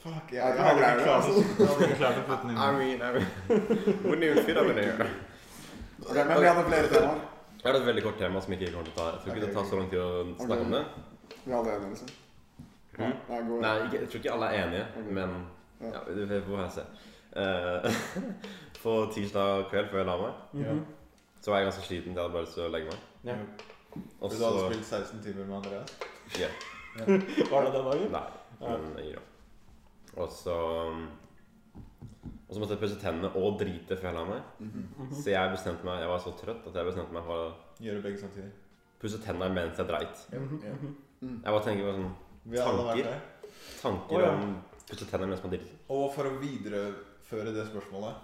Fuck, jeg hadde ikke klart det. altså. Jeg hadde ikke klart å putte den inn. mean, I mean. Wouldn't even fit up in here. Ok, men vi hadde flere temaer. Jeg har et veldig kort tema som ikke kommer til å ta Jeg tror ikke det tar så lang tid å snakke om det. Vi hadde en, liksom. Hmm? Mm. Nei, god. Nei, ikke, jeg tror ikke alle er enige, men Ja. ja, det får jeg se. Eh, på tirsdag kveld før jeg la meg, Mhm. så var jeg ganske sliten til jeg hadde bare lyst til å legge meg. Ja. Og For du så hadde spilt 16 timer med Andreas? Ja. Var det den dagen? Nei, men jeg gir opp. Og så Og så måtte jeg pusse tennene og drite før jeg la meg. Mhm. Så jeg bestemte meg Jeg var så trøtt at jeg bestemte meg for å Gjøre begge samtidig. pusse tennene mens jeg dreit. Mhm, Ja. Jeg bare tenker på sånn Vi har alle vært Tanker? der. tanker Å, ja. om pusse tennene mens man driter. Og for å videreføre det spørsmålet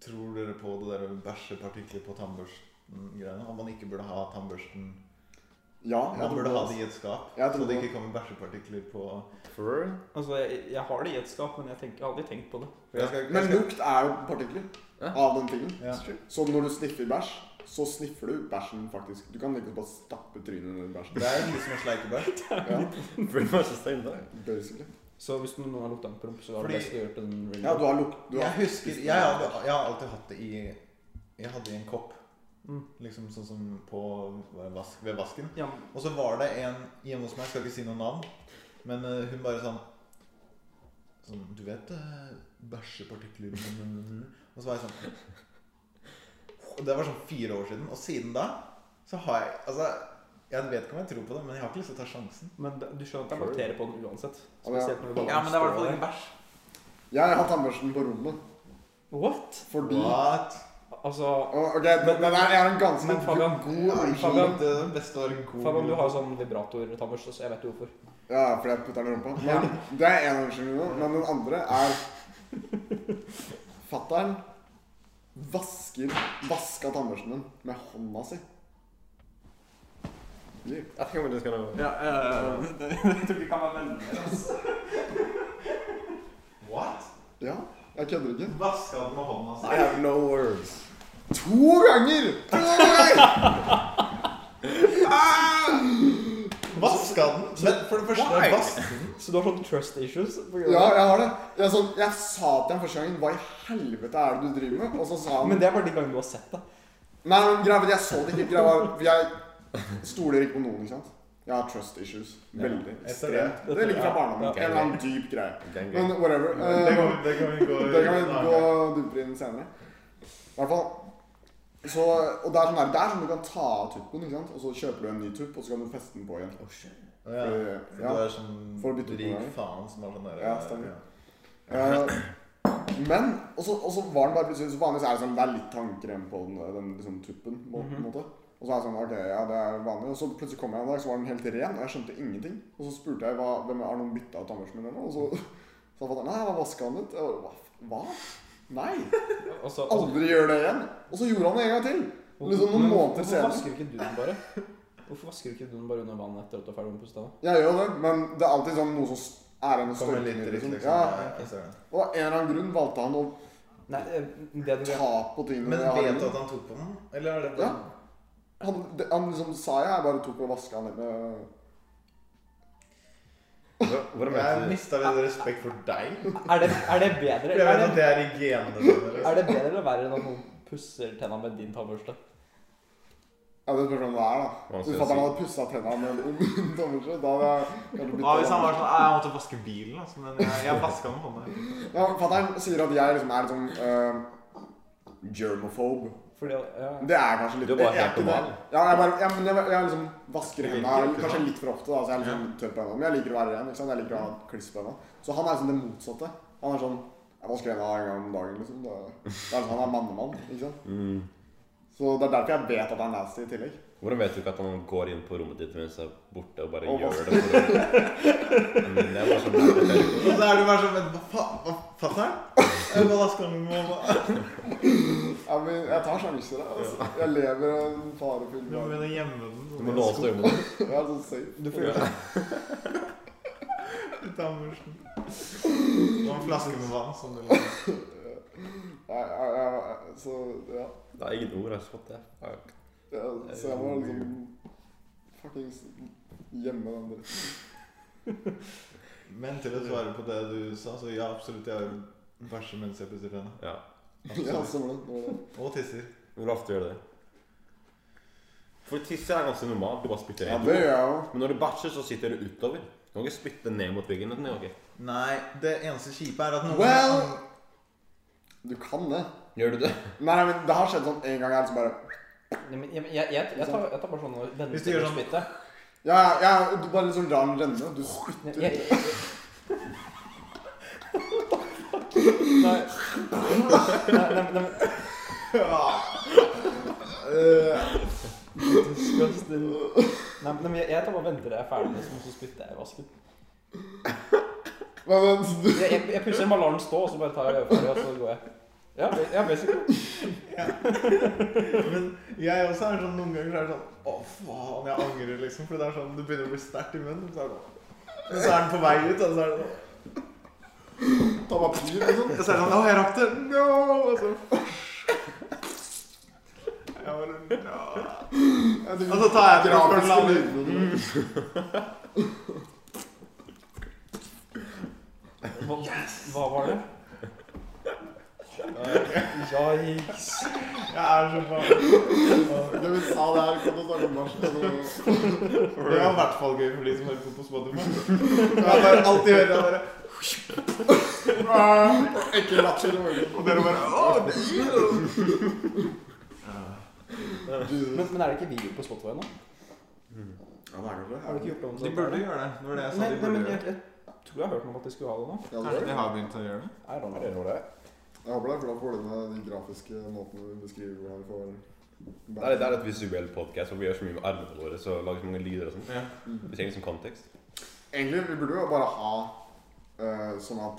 Tror dere på det der å bæsje partikler på tannbørsten-greiene? At man ikke burde ha tannbørsten Ja, jeg Man tror burde det, ha altså. det i et skap, Jeg så tror det det. ikke kommer bæsjepartikler på For Altså, jeg, jeg har det i et skap, men jeg, tenker, jeg har aldri tenkt på det. For jeg skal, jeg Men skal, lukt er jo partikler Ja. av den tingen. ja. Så når du sniffer bæsj, så sniffer du bæsjen faktisk. Du kan ikke bare stappe trynet ned i bæsjen. Det er litt som å sleike bæsj. Ja, Pretty much the same da. basically. Så hvis noen har lukta en promp, så er det Fordi- best å gjøre den ringen. Ja, du har lukt... Du Jeg har husker jeg har, aldri- jeg har alltid hatt det i Jeg hadde i en kopp. Mm. Liksom sånn som på vask, ved vasken. Ja, men- Og så var det en hjemme hos meg, jeg skal ikke si noe navn, men eh, hun bare sånn Sånn, du vet eh, bæsjepartikler mm, Og så var jeg sånn Og det var sånn fire år siden. Og siden da så har jeg Altså, jeg vet ikke om jeg tror på det, men jeg har ikke lyst til å ta sjansen. men det- du skjønner at det er bakterier på den uansett. Ja, ja. Spesielt når du bare Ja, men det er i hvert fall står ikke bæsj. Jeg har tannbørsten på rommet der. What? fordi What? Altså Å, Ok, det, det der er en ganske Men Fabian, god unnskyld. Fabian- Det er den beste åren god Fabian, du har jo sånn vibrator-tannbørste, så jeg vet jo hvorfor. Ja, fordi jeg putter den i rumpa. Men det er en unnskyldning nå. Men den andre er Fattern vasker vaska tannbørsten din med hånda si. Yeah. I think we're just gonna Ja, eh, jeg tror vi kan være venner. What? Ja, jeg kødder ikke. Vaska den med hånda altså. si? I have no words. To ganger! To ganger! Vaska den? Men for det første, Why? vask den. Så du har sånn trust issues? Ja, jeg har det. Jeg, er sånn, jeg sa til ham første gangen Hva i helvete er det du driver med? Og så sa han Men det er bare de gangene du har sett det. Nei, men greia er at jeg så det ikke. Greia var Jeg stoler ikke på noen, ikke sant? Jeg har trust issues. Veldig. Etter det. Ekstremt. Det ligger fra barndommen. En eller annen dyp greie. Gang, gang. Men whatever. Det eh, kan, det kan vi gå det kan vi gå dypere inn senere. I hvert fall så, og det er sånn der, det er sånn du kan ta av tuppen, ikke sant? og så kjøper du en ny tupp, og så kan du feste den på igjen. Oh, Ja. Fordi- Du ja. er sånn For å bytte ut rik noe. faen som har sånn der Ja, stemmer. Eh, men Og så og så var den bare plutselig så vanlig, så er det sånn, det er litt tannkrem på den, den liksom, tuppen. På, Mhm. på en måte. Og så er det sånn, ok, ja, det er vanlig. Og så plutselig kom jeg en dag, så var den helt ren, og jeg skjønte ingenting. Og så spurte jeg hva, hvem har noen bytta tannbørsten min, eller noe? Og så sa fatter'n nei, han har vaska den ut. Jeg bare, Hva? hva? Nei! Og så- Aldri gjør det igjen. Og så gjorde han det en gang til. Liksom noen Men måneder Hvorfor senere. vasker ikke du den bare? Hvorfor vasker ikke du den bare under vannet etter at du er ferdig med å puste? da? Jeg gjør det, men det er alltid sånn noe som s- er igjen og Kommer støyter litt ned. dritt, Liksom. liksom. Ja. Ja, jeg ser det. Og av en eller annen grunn valgte han å Nei, eh, det du ta på tingene. Men jeg har i vet du munnen. at han tok på den? Eller er det Ja. han, det, han liksom sa jeg, jeg bare tok og vaska han litt med Hvor- Hvordan Jeg mente du mista litt respekt for deg. Er det, er det bedre For jeg vet er at det, det er i genene dine. er Liksom. det bedre eller verre når noen pusser tenna med din tannbørste? Ja, det spørs om det er, da. Hva skal Hvis jeg fatter'n si? hadde pussa tenna med en tommelskje, da hadde jeg kanskje bytta Hva hvis han var sånn «Nei, Jeg måtte vaske bilen, altså. Men jeg, jeg vaska med hånda. Ja, Fatter'n sier at jeg liksom er litt sånn eh, germophobe. Fordi, ja. Det er kanskje litt Du er bare jeg helt ikke det. normal. Ja, jeg bare, ja, men jeg, jeg liksom vasker Du hendene liker ikke kanskje det. litt for ofte, da, så jeg er liksom tørr på hendene. Men jeg liker å være ren. ikke sant? Jeg liker å ha kliss på hendene. Så han er liksom det motsatte. Han er sånn Jeg vasker hendene en gang om dagen, liksom. Det, det er sånn, Han er mannemann, ikke sant. Mm. Så det er derfor jeg vet at han er nasty i tillegg. Hvordan vet du ikke at han går inn på rommet ditt mens jeg er borte og bare Og gjør det? For det? Men det er bare sånn Og så er du bare sånn Men hva faen? Hva fatter'n? Jeg bare vasker med hånda. Ja, men jeg tar sjanser, jeg, altså. Jeg lever en farefull Du må hverdag. begynne å gjemme den. Du må låse øynene. Jeg er sånn safe. Du får gjøre det. Ut av mørsen. Og en flaske med vann. Som du lager. Jeg, jeg, jeg, jeg, så ja. Det er ingen ord jeg har fått, det. Fuck. ja. Så jeg må liksom fuckings gjemme den dritten. Men til å svare på det du sa, så ja, absolutt. Jeg bæsjer mens jeg pusser tenna. Ja. Ja, altså. Absolutt. stemmer det. det. var det. Og tisser. Hvor ofte gjør du det? For tisse er ganske normalt. Du bare spytter Ja, rett det ut. gjør jeg jo. Men når du bæsjer, så sitter det utover. Du kan ikke spytte ned mot veggen. vet du, Norge. Nei, det eneste kjipe er at noen Well. Du kan det. Gjør du det? Nei, men det har skjedd sånn en gang jeg liksom bare Nei, men Jeg, jeg, jeg, jeg, tar, jeg tar bare sånn og vender Hvis du gjør på sånn- spyttet. Ja, ja, du bare liksom drar den renne, og du spytter Jeg- jeg- Nei. Nei, nei, nei, men- Eh, Disgusting. Nei, men jeg, jeg tar bare og venter til jeg er ferdig, med det, så- så spytter jeg i vasken. Hva men du Jeg, jeg, jeg pusser malaren stå, og så bare tar jeg øyefarge, og så går jeg. Ja, ja basically. Men jeg også er sånn noen ganger så er det sånn Å, faen, jeg angrer, liksom. For det er sånn, det begynner å bli sterkt i munnen. Så er det sånn. Men så er den på vei ut, og så er det sånn tar papir, liksom? Og så er det sånn Å, jeg rakk det! No! Og så Jeg bare no. Ja, du- Og så tar jeg den grafiske første lander. lydene. Hva, hva var det? Yikes. Jeg er så faen Det vi sa der, kan du snakke om marsj? Det var i hvert fall gøy for de som hører på på Spotify. Jeg bare alltid hører jeg bare Ekkel latter. og øyne. Og dere bare Å, det Men, men er det ikke video på Spotify nå? Mm. Ja, det er kanskje Har du ikke gjort det om De burde gjøre det. Det var det jeg sa. Nei, De nei, burde men gjøre jeg, det. jeg tror jeg har hørt noe om at de skulle ha det nå. Ja, det Kanskje er det. de har begynt å gjøre det? I don't know. Jeg håper det, for da får du med de grafiske måtene du beskriver hvordan vi får Det er, det er et visuell podcast, hvor vi gjør så mye med armene våre, så lager så mange lyder og sånn. Ja. Vi trenger liksom kontekst. Egentlig, vi burde jo bare ha eh, sånn at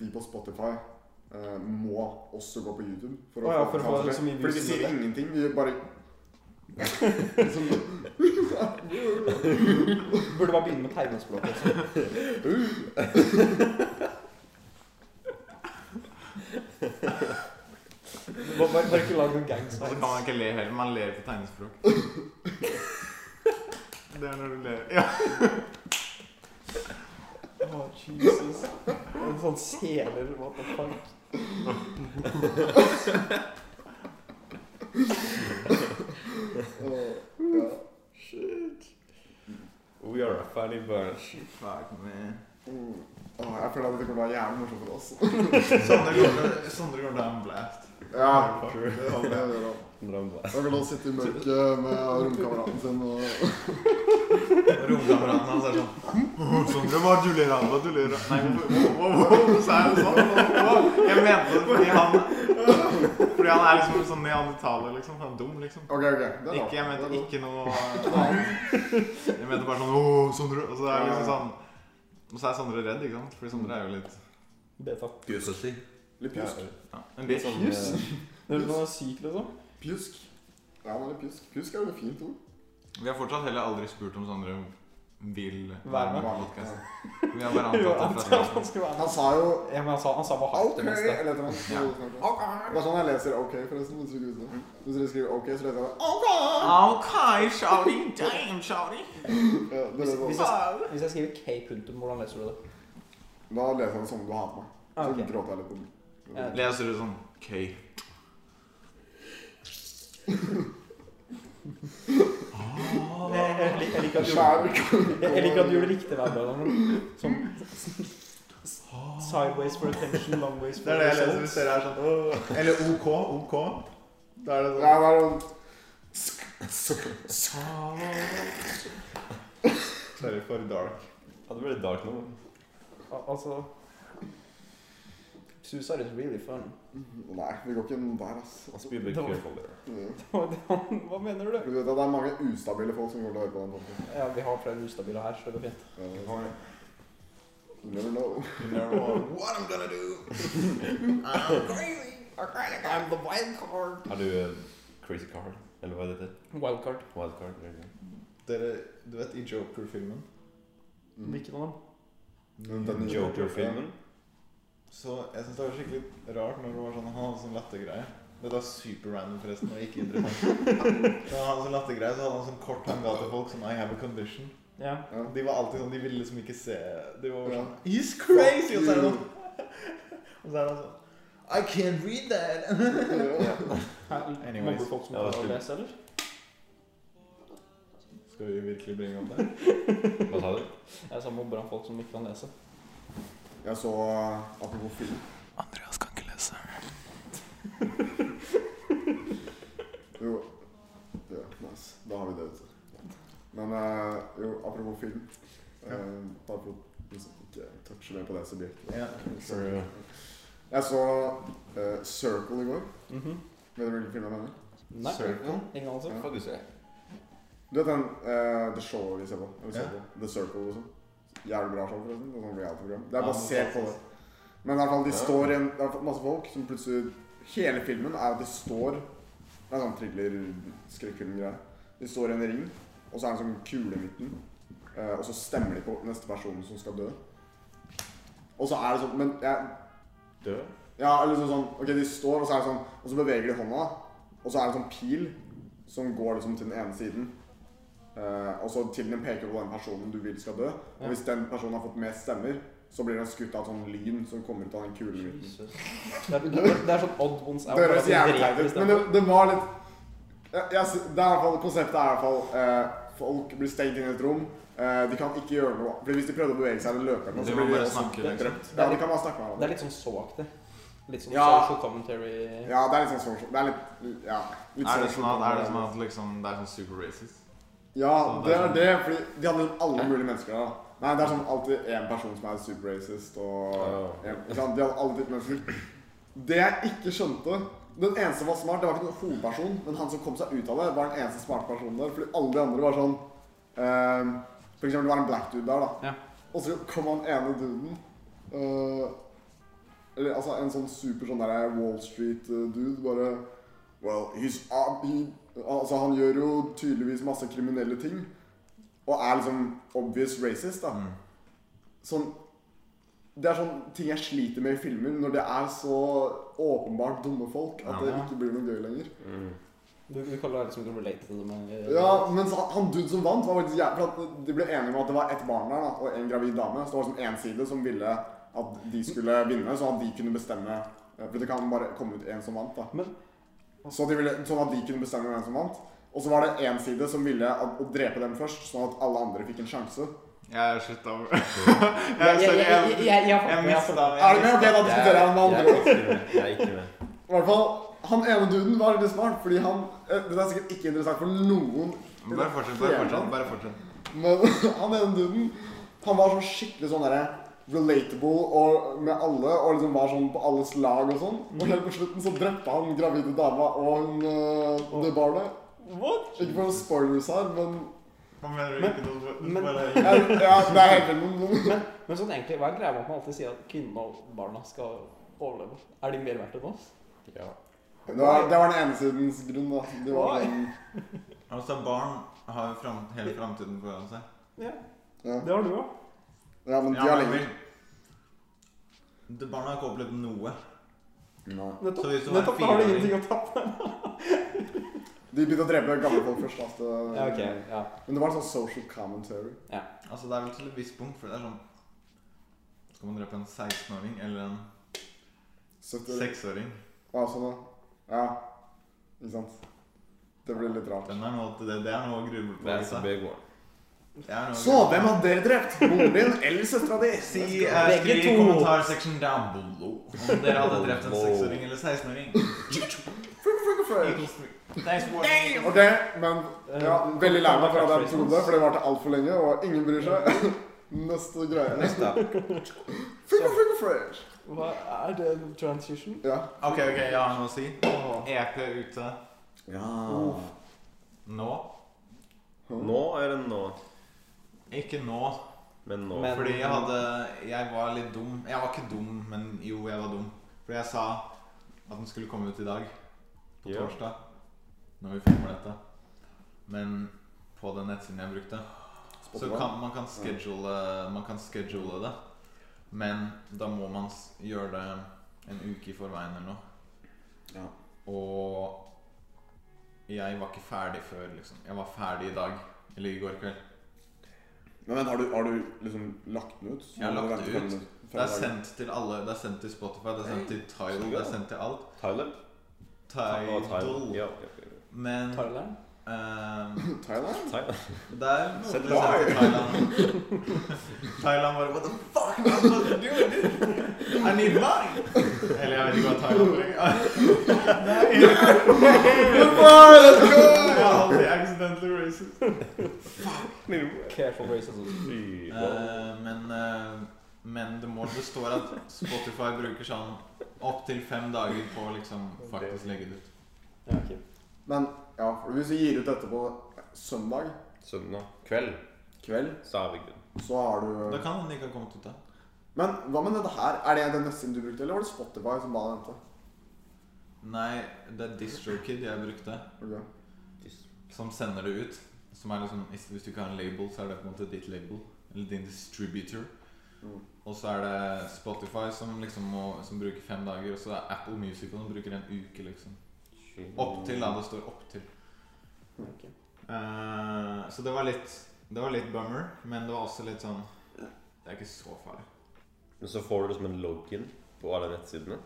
de på Spotify eh, må også gå på YouTube. Å ja, for å få så mye Fordi vi views som sier mulig. ingenting. Vi bare liksom, Burde bare begynne med tegnespråk. Også. Uh. Bare, bare, bare ikke lag noen Og så kan man gangsigns. ikke le heller. Man ler på tegnespråk. Det er når du ler. Ja. Å, Jesus. En sånn seler, what the fuck. eh, ja. We are a funny bunch. Fuck me. mm. Åh, jeg føler at dette kommer til å være jævlig morsomt for oss. Sondre går til- Sondre går til en blast. Ja, det kan vi gjøre. Drømmer. Da kan han sitte i mørket med romkameraten sin og Romkameraten hans er sånn «Åh, Sondre, hva er det du ler av? Hva er det du ler av? Nei, hvorfor- hvorfor hvorfor sa jeg det sånn? Hvorfor? Jeg mente det fordi han Fordi han er liksom sånn neandertaler, liksom. Han er dum, liksom. OK, OK. Det er lov. Ikke, jeg mente Det er lov. ikke noe Jeg mente bare sånn Åh, Sondre. Og så er det liksom sånn Og så er Sondre redd, ikke sant? Fordi Sondre er jo litt Beta. Pussy. Litt pjusk. ja, En bitch. Sånn, Pjusk. eh, Det er noe sykt, liksom. Pjusk. Ja, men litt pjusk. Pjusk er jo et fint ord. Vi har fortsatt heller aldri spurt om Sondre vil Være med. på podcasten. Vi har bare Jo, antatt det antar fra at han skulle være Han med. sa jo Ja, men han sa, han sa bare hardt OK! det meste. Eller et eller annet. Ja. Det er sånn jeg leser OK, forresten. Hvis du ikke visste det. Hvis dere skriver OK, så leser jeg det. OK, shouty. Damn, shouty. Ja, det sånn, leser jeg. Hvis jeg, hvis jeg skriver K punktum, hvordan leser du det? også. Da leser jeg det sånn du har på meg. Så Ah, ok. gråter jeg litt på den. Ja. Leser du sånn K. Jeg, jeg, lik- jeg, liker at du- Skjær jeg, jeg liker at du gjorde det riktig hver dag. men Sånn s- Sideways for attention, long ways for Det er det jeg leser results. hvis dere er sånn «Åh». Eller OK. OK. Da er det Ja, sånn det er sånn Sorry for dark. Ja, det ble litt dark nå. Al- Altså Suicide is really fun. Nei, det går ikke inn der, ass. Han spyr litt Det var- careful there. Mm. Hva mener du? Du vet at det er mange ustabile folk som kommer til å høre på den podcasten. Ja, vi har flere ustabiler her, så det går fint. Ja, You never know. You never know what I'm gonna do. I'm crazy. I'm the wild card. Har du eh, crazy card? Eller hva er det? Wildcard. Wild card? eller noe? Dere, du vet i Joker-filmen Mm. Hvilken av dem? Den- Mm, den nye Joker-filmen? Så jeg synes det var skikkelig rart når det var sånn Han hadde sånn lattergreie. Dette er super random, forresten. og ikke interessant. Men han hadde sånn lattergreie, så hadde han sånn kort han ga til folk sånn I have a condition. Ja. Ja. De var alltid sånn, de ville liksom ikke se De var Ja. sånn He's crazy! Og så er det you. sånn Og så er det sånn I can't read that! Ja. Her, Anyways. mobber folk som Ja, det klarer å skulle- lese, eller? Skal vi virkelig bringe opp det? Hva sa du? Jeg sa mobber han folk som ikke kan lese. Jeg så eh, Apropos film. Andreas kan ikke lese. Jo, eh, apropos film. Eh, bare for å liksom ikke touche mer på det subjektet. Ja. True. Jeg så eh, Circle i går. Mhm. Vet du hvilken film jeg mener? Nei, Circle? ingen anelse. Ja. Får du se. Du vet den eh, The Show vi ser på? Eller så Ja. på The Circle og sånn. Jævlig bra show, forresten. Det er sånn reality-program. Det Ja, er basert på det. Men i hvert fall, de Ja. står i en Det er masse folk som plutselig Hele filmen er at de står Det er sånn thriller-skrekkfilm-greie. De står i en ring, og så er det en sånn kule i midten. eh, og så stemmer de på neste person som skal dø. Og så er det sånn Men jeg Dø? ja, eller sånn, sånn Ok, de står, og så er det sånn Og så beveger de hånda, og så er det en sånn pil som går liksom til den ene siden. Eh, og så til den peker på den personen du vil skal dø. Og hvis den personen har fått mest stemmer, så blir han skutt av et sånn lyn som kommer ut av den kulen i midten. Det er, det, er- det er sånn odd ones out. Det bare høres at de jævlig teit dreper sånn ut, men det, det var litt jeg, jeg, sy- det er i hvert fall, Konseptet er i hvert fall eh, folk blir stengt inn i et rom. Eh, de kan ikke gjøre noe. Fordi Hvis de prøvde å bevege seg eller løpe, eller noe, De så Altså, må blir de bare også snakke, liksom. drept. Ja, de kan bare snakke med Det er hverandre. litt sånn så-aktig. Litt sånn Ja. social commentary. Ja, det er litt sånn social. Det er litt, ja, litt Er det social sånn at, er commentary. det sånn at liksom, det er sånn super racist? Ja, Så det det er er sånn- det, fordi de hadde alle mulige mennesker der. da. Nei, det er sånn alltid én person som er superracist, og Ja. en- ikke sant? De hadde alle typer mennesker. Det jeg ikke skjønte Den eneste som var smart, det var ikke noen hovedperson, men han som kom seg ut av det, var den eneste smarte personen der. Fordi alle de andre var sånn eh, For eksempel, det var en black dude der, da. Ja. Og så kom han ene duden eh, Eller altså en sånn super sånn der Wall Street-dude, bare Well, he's ob- he, Altså, han gjør jo tydeligvis masse kriminelle ting. Og er liksom obvious racist, da. Mm. Sånn Det er sånn ting jeg sliter med i filmer, når det er så åpenbart dumme folk at det Ja. ikke blir noe gøy lenger. Mm. Du, du kaller det liksom ikke relate til det, men Ja, mens han, han dude som vant, var faktisk jævlig For at de ble enige om at det var ett barn der da, og en gravid dame. Så det var liksom én side som ville at de skulle vinne, sånn at de kunne bestemme eh, For det kan bare komme ut én som vant, da. Men- så de ville, sånn at de kunne bestemme hvem som vant. Og så var det én side som ville at, å drepe dem først, sånn at alle andre fikk en sjanse. Jeg er slutta over. Jeg, Jeg, jeg, sorry, jeg, jeg, jeg, jeg, jeg, jeg, jeg jeg mista Er du med? Ok, da diskuterer jeg med Jeg er andre. ikke med. Jeg er ikke med. I hvert fall, han ene duden var veldig smart, fordi han eh, Det er sikkert ikke interessant for noen Bare fortsett, bare fortsett. bare fortsett. Men han ene duden Han var sånn skikkelig sånn derre relatable og med alle, og liksom var sånn på alles lag og sånn. Og helt på slutten så drepte han gravide dama og hun uh, det barnet. What? Ikke for noen spoilers her, men Hva mener du? Ikke noe, men- bare, ja, ja, det er helt enig. Men sånn egentlig, hva er greia med at man alltid sier at kvinnene og barna skal overleve? Er de mer verdt enn oss? Ja. Det var, det var den ene sidens grunn, da. Det var sånn altså, barn har jo fram, hele framtiden foran seg. Ja, ja. det har du òg. ja, men de Ja, har men lenger. det- Barna har ikke opplevd noe. Så Nettopp. hvis du var en Nettopp, da har du fireåring- ingenting å tape. De begynte å drepe gamle folk først. da, så- Ja, ok, ja. Men det var en sånn social commentary. Altså, det er vel til et visst punkt, for det er sånn Skal man drepe en 16-åring eller en 70 6-åring? Ja, sånn, ja. ja. Ikke sant. Det blir litt rart. Den er noe til det. Det er noe å gruble på. Det er så altså. big one. Det er noe å Så, gruble på. hvem har dere drept? Moren din eller søstera di? Si, Jeg eh, Begge skriv i to. kommentarseksjonen down below om dere hadde drept en Wow. 6-åring eller 16-åring. skal føre. Thanks for watching. Ok, men ja, veldig lei meg for at jeg trodde det, for det varte altfor lenge, og ingen bryr seg. Neste greie. Neste. Finger, finger, fresh. Hva er det transition? Ja. Ok, ok, jeg har noe å si. Åh. EP ute nå. Nå er det nå. Ikke nå, Men nå. Men- fordi jeg hadde Jeg var litt dum. Jeg var ikke dum, men jo, jeg var dum. Fordi jeg sa at den skulle komme ut i dag, på Ja. torsdag, når vi filmer dette. Men på den nettsiden jeg brukte, Så Spotify. kan, man, kan schedule, man kan schedule det, men da må man s- gjøre det en uke i forveien eller noe. Ja. Og jeg var ikke ferdig før, liksom. Jeg var ferdig i dag. Eller i går kveld. Men vent, har du, har du liksom lagt den ut? Jeg har lagt det ut. Det er sendt. sendt til alle. Det er sendt til Spotify, det er sendt til Tidal, det er sendt til alt. Tyler? Å, Tyler. Tidal. Ja, ja, ja. Men Thailand? Ehm, Thailand? Thailand. der måtte Send vi det sende til til Thailand. Thailand bare What the fuck? man? What you doing, dude? I need money! Eller jeg vet ikke hva Thailand var. Jeg er alltid accidentally racist. Careful racism. altså. Eh, men, eh, men det må det står at Spotify bruker sånn opptil fem dager på å liksom faktisk legge det ut. Men ja, for hvis vi gir ut dette på søndag Søndag kveld, kveld, så er vi good. så har Da du kan den ikke ha kommet ut, da. Men hva med dette her? Er det den nesten du brukte, eller var det Spotify som ba deg vente? Nei, det er DistroKid jeg brukte, Ok. som sender det ut. Som er liksom, Hvis du ikke har en label, så er det på en måte ditt label. Eller din distributor. Mm. Og så er det Spotify som liksom må, som bruker fem dager, og så er Apple Music og de bruker en uke, liksom. Opptil, da. Det står opptil. Ok. Eh, så det var litt Det var litt bummer, men det var også litt sånn Det er ikke så farlig. Men så får du liksom en login på alle nettsidene.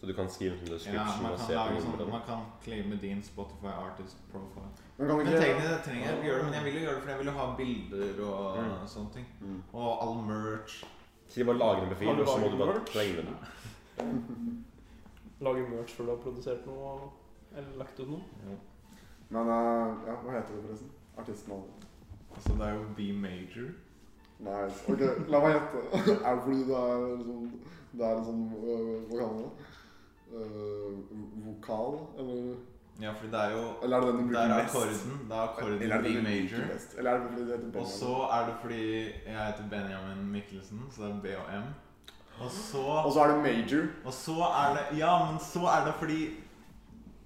Så du kan skrive en sånn Ja, description man og kan se på lage sånn numrene. Man kan claime din Spotify artist profile. Men kan Men du ikke teknisk sett trenger jeg ikke gjøre det, men jeg vil jo gjøre det fordi jeg vil jo ha bilder og sånne ting. Mm. Og all merch. Så de bare lager en Har befil, du og så må laget du bare merch? slenge den. Lage merch før du har produsert noe eller lagt ut noe. Men eh, ja, hva heter du forresten? Artisten og Altså, det er jo B major. Nice. Ok, la meg gjette. Er det fordi det er liksom Det er en sånn øh, Hva kaller man det? Øh, vokal? Eller, Ja, fordi det er jo eller er det den du Der bruker er mest? akkorden. Det Eller er er akkorden det B den du major. bruker mest? Eller er det fordi det heter Og så er det fordi jeg heter Benjamin Mikkelsen, så det er B og M. Og så Og så er det major. Og så er det Ja, men så er det fordi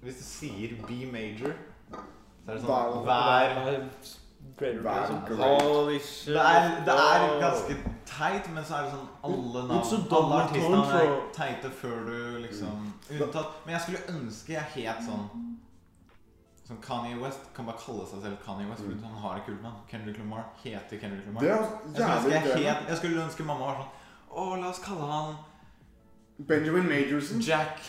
Hvis du sier B major, så er det sånn Hver Greater altså. Hver person. great. Holy shit. det er, det er ganske teit, men så er det sånn alle It's a navn double Alle artistene er control. teite før du liksom Mm. Unntatt Men jeg skulle ønske jeg het sånn Sånn Kanye West kan bare kalle seg selv Kanye West, fordi han har et kult navn. Kendrick Lamar heter Kendrick Lamar. Mm. Det er jeg, skulle ønske jeg, jævlig gøy. het, jeg skulle ønske mamma var sånn Å, la oss kalle han Benjamin Majorson. Jack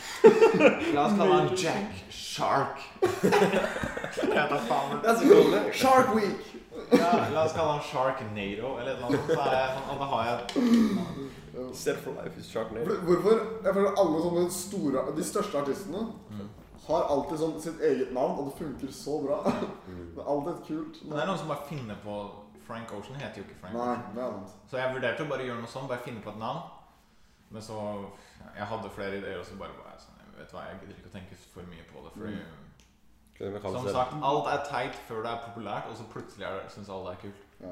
La oss kalle han Jack Shark. Jeg vet da faen. That's cool. Shark Week. Ja, la oss kalle han Sharknado eller noe sånt. Så er jeg sånn, og da har jeg Set for life is Sharknado. Hvor- Hvorfor? Jeg føler alle sånne store De største artistene Mm. har alltid sånn sitt eget navn, og det funker så bra. Mm. Det er alltid et kult Men det er noen som bare finner på Frank Ocean heter jo ikke Frank Nei, Ocean. det er sant. Så jeg vurderte å bare gjøre noe sånn, bare finne på et navn. Men så Jeg hadde flere ideer, og så bare var jeg sånn jeg Vet du hva, jeg gidder ikke å tenke for mye på det. Fordi, Mm. Kan vi kalle som det det? sagt, alt er teit før det er populært, og så plutselig er det- syns alle det er kult. Det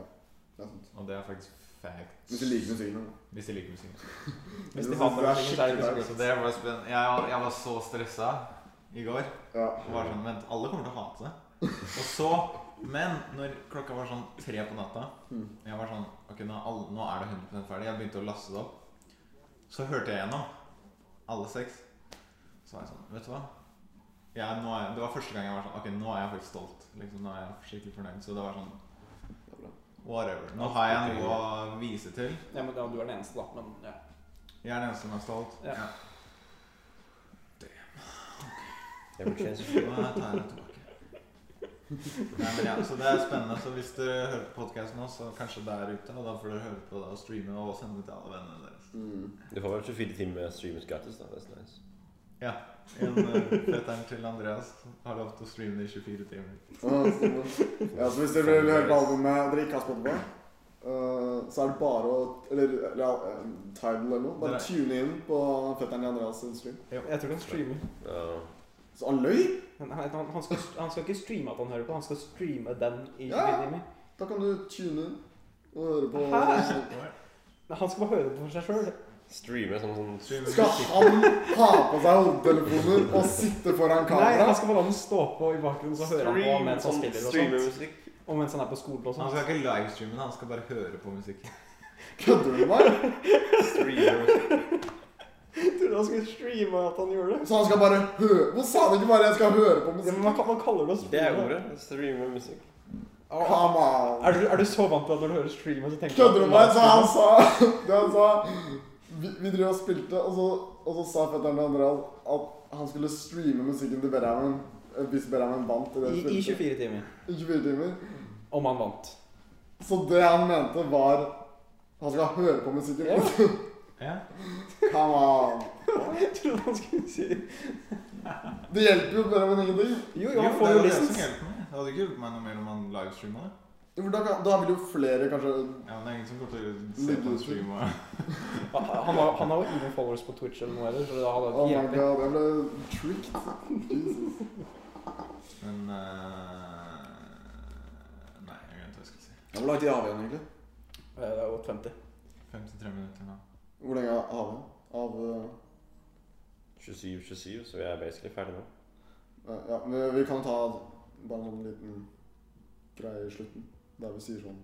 er sant. Og det er faktisk fact. Hvis du liker musikken. Hvis de liker musikken. Hvis Det de er hater det, så er det liksom- skikkelig ikke Så så det var spennende. Jeg, jeg var så stressa i går. Ja. Og var sånn, vent, alle kommer til å hate det. Og så, men når klokka var sånn tre på natta Mm. Jeg var sånn, ok, nå, er alle, nå er det 100 ferdig. Jeg begynte å laste det opp. Så hørte jeg gjennom alle seks. Så var jeg sånn, vet du hva? Jeg, nå er, det var første gang jeg var sånn, ok, nå er jeg faktisk stolt. Liksom, nå er jeg skikkelig fornøyd. Så det var sånn, er bra. whatever. Nå har jeg noe å vise til. Ja, men ja, du er den eneste, da. Men ja. Jeg er den eneste som er stolt. Ja. Every chance. Nå tar jeg det tilbake. Nei, men ja, så Det er spennende. Så Hvis dere hører på podkasten nå, så kanskje det er ute. Og da får dere høre på det og streame og sende det til alle vennene deres. Mm. Du får vel 24 timer streams gratis, da. That's nice. En eh, fetteren til Andreas har lov til å streame det i 24 timer. Ja, stemmer. Ja, så hvis dere vil høre på albumet og dere ikke har Spotify, eh, så er det bare å Eller, eller eh, Tidal eller noe. Bare Nei. tune inn på fetteren til Andreas sin stream. Jeg tror han streamer. Ja. Så han løy! Men han, han, han, skal, han skal ikke streame at han hører på, han skal streame den i Ja. Minimi. Da kan du tune inn og høre på Hæ? Nei, Han skal bare høre det for seg sjøl. Streame sånn sånn Streame Skal han ha på seg hodetelefoner og sitte foran Nei, altså- sånn kamera? han skal bare la den stå på i bakgrunnen, så hører han på mens han spiller og streame sånt. musikk. Og mens han er på skolen og Han sånt. skal ikke livestreame det, han skal bare høre på musikk. Kødder du med meg? Streame musikk. Jeg trodde han skulle streame at han gjorde det. Så han skal bare høre Hvor sa han ikke bare 'jeg skal høre på Ja, men musikk'? man, kan- man kaller det å Det er streame. Ah, ordet. Streame musikk. Come on. Er du, er du så vant til at når du hører streamen, så tenker Kødder du med meg? Så han han sa Det han sa Vi, vi drev og spilte, og så, og så sa fetteren til Andreas at han skulle streame musikken til Benjamin. eh, Hvis Berheimen vant i det I, I spillet. 24 timer. I 24 timer. Om han vant. Så det han mente, var Han skal høre på musikken. Ja. Ja. Come on. Jeg trodde han skulle si Det hjelper jo Berheimen ingenting. Jo, jo, Jo, han det får var jo det som lisens. hjelper meg. Det hadde ikke hjulpet meg noe mer om han livestreama det. Jo, for Da, kan- da vil jo flere kanskje Ja, men det er ingen som kommer til å se på en stream og Han han har, han har jo ingen followers på Twitch eller noe heller, så det hadde ikke Oh my hjulpet. god, jeg ble tricked. Jesus. Men eh, Nei, jeg glemte hva jeg skulle si. Hvor lang tid har vi igjen, egentlig? Eh, Det er jo 50. 53 minutter nå. Hvor lenge har vi av eh, 27-27, så vi er basically ferdig nå. Nei, Ja, men vi kan ta bare en sånn liten greie i slutten, der vi sier sånn.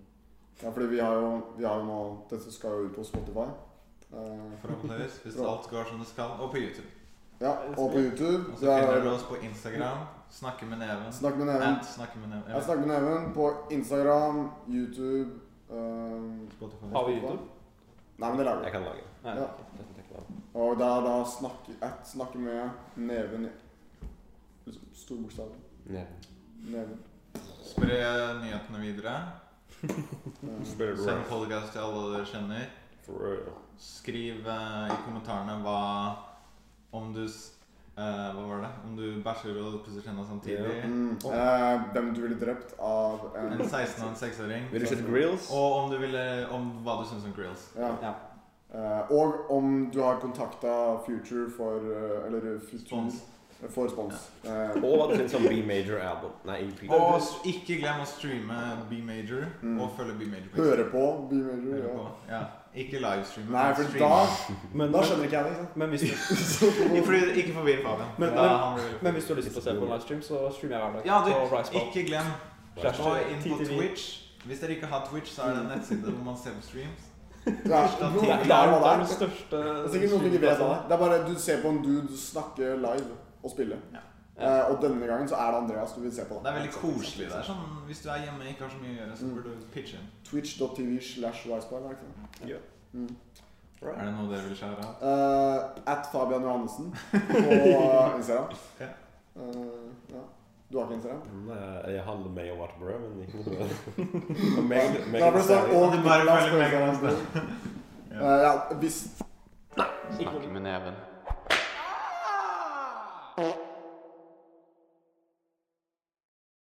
Ja, fordi vi har jo, vi har jo nå Dette skal jo ut på Spotify. Eh, Forhåpentligvis. Hvis alt går som det skal. Og på YouTube. ja, og på YouTube. Og så Det finner du er oss på Instagram. Snakke med neven. Snakk med Neven. At snakke med neven. Jeg Eller snakker med Neven på Instagram, YouTube eh, Spotify. Har vi YouTube? Nei, men det lager Jeg vi. kan lage Nei. Ja. det. som tenker jeg. Og det er da snakke, at snakke med Neven i liksom, Store bokstaver. Neven. Neven. Spre nyhetene videre. Eh, Spiller du Send rock? podcast til alle dere kjenner. For real. Skriv eh, i kommentarene hva Om du s- eh, Hva var det? Om du bæsjer og pusser tenna samtidig. mm, eh, hvem du ville drept av en En 16- og en 6-åring. Vil du sette grills? Og om du ville Om hva du syns om grills. Ja. Ja. Eh, og om du har kontakta Future for eh, Eller Future Spons. For spons. Eh, Og hva du syns om B major album. Nei, E EP. Og s- ikke glem å streame B major, Mm. og følge B major. på høre på Be Major. Høre Ja. på. Ja. Ikke livestreame. Nei, men for streame. da, Men, da skjønner ikke jeg det. ikke sant? men, hvis du, Ikke, fordi- ikke forvirr Fabian. Men- Da men- han blir- men hvis du har lyst til å se på en livestream, så streamer jeg hver dag ja, du, på Riceball. ikke glem Slash gå inn på 10 Twitch. Hvis dere ikke har Twitch, så er det en nettside hvor man ser på streams. Ja, Torsdag du Det vet er, det er hva det den er. største Det er sikkert noen som ikke vet hva det er. Det er bare du ser på en dude snakke live og spille. Ja. Eh, og denne gangen så er det Andreas du vil se på. Det er veldig koselig. Det er sånn, Hvis du er hjemme og ikke har så mye å gjøre, så burde du pitche inn. Twitch.tv slash Risebar. Er det ikke det? Ja. Mm. Er det noe dere vil skjære av? Eh, at Fabian Johannessen på Instagram. Ja. Eh, ja. Du har ikke Instagram? Nei, Jeg handler meg og vært brød, men ikke noe brød. Meg, meg, Da ble det sånn, og Det er bare Nicolas veldig Pølse. mye. Eh, Ja, hvis Snakke med neven.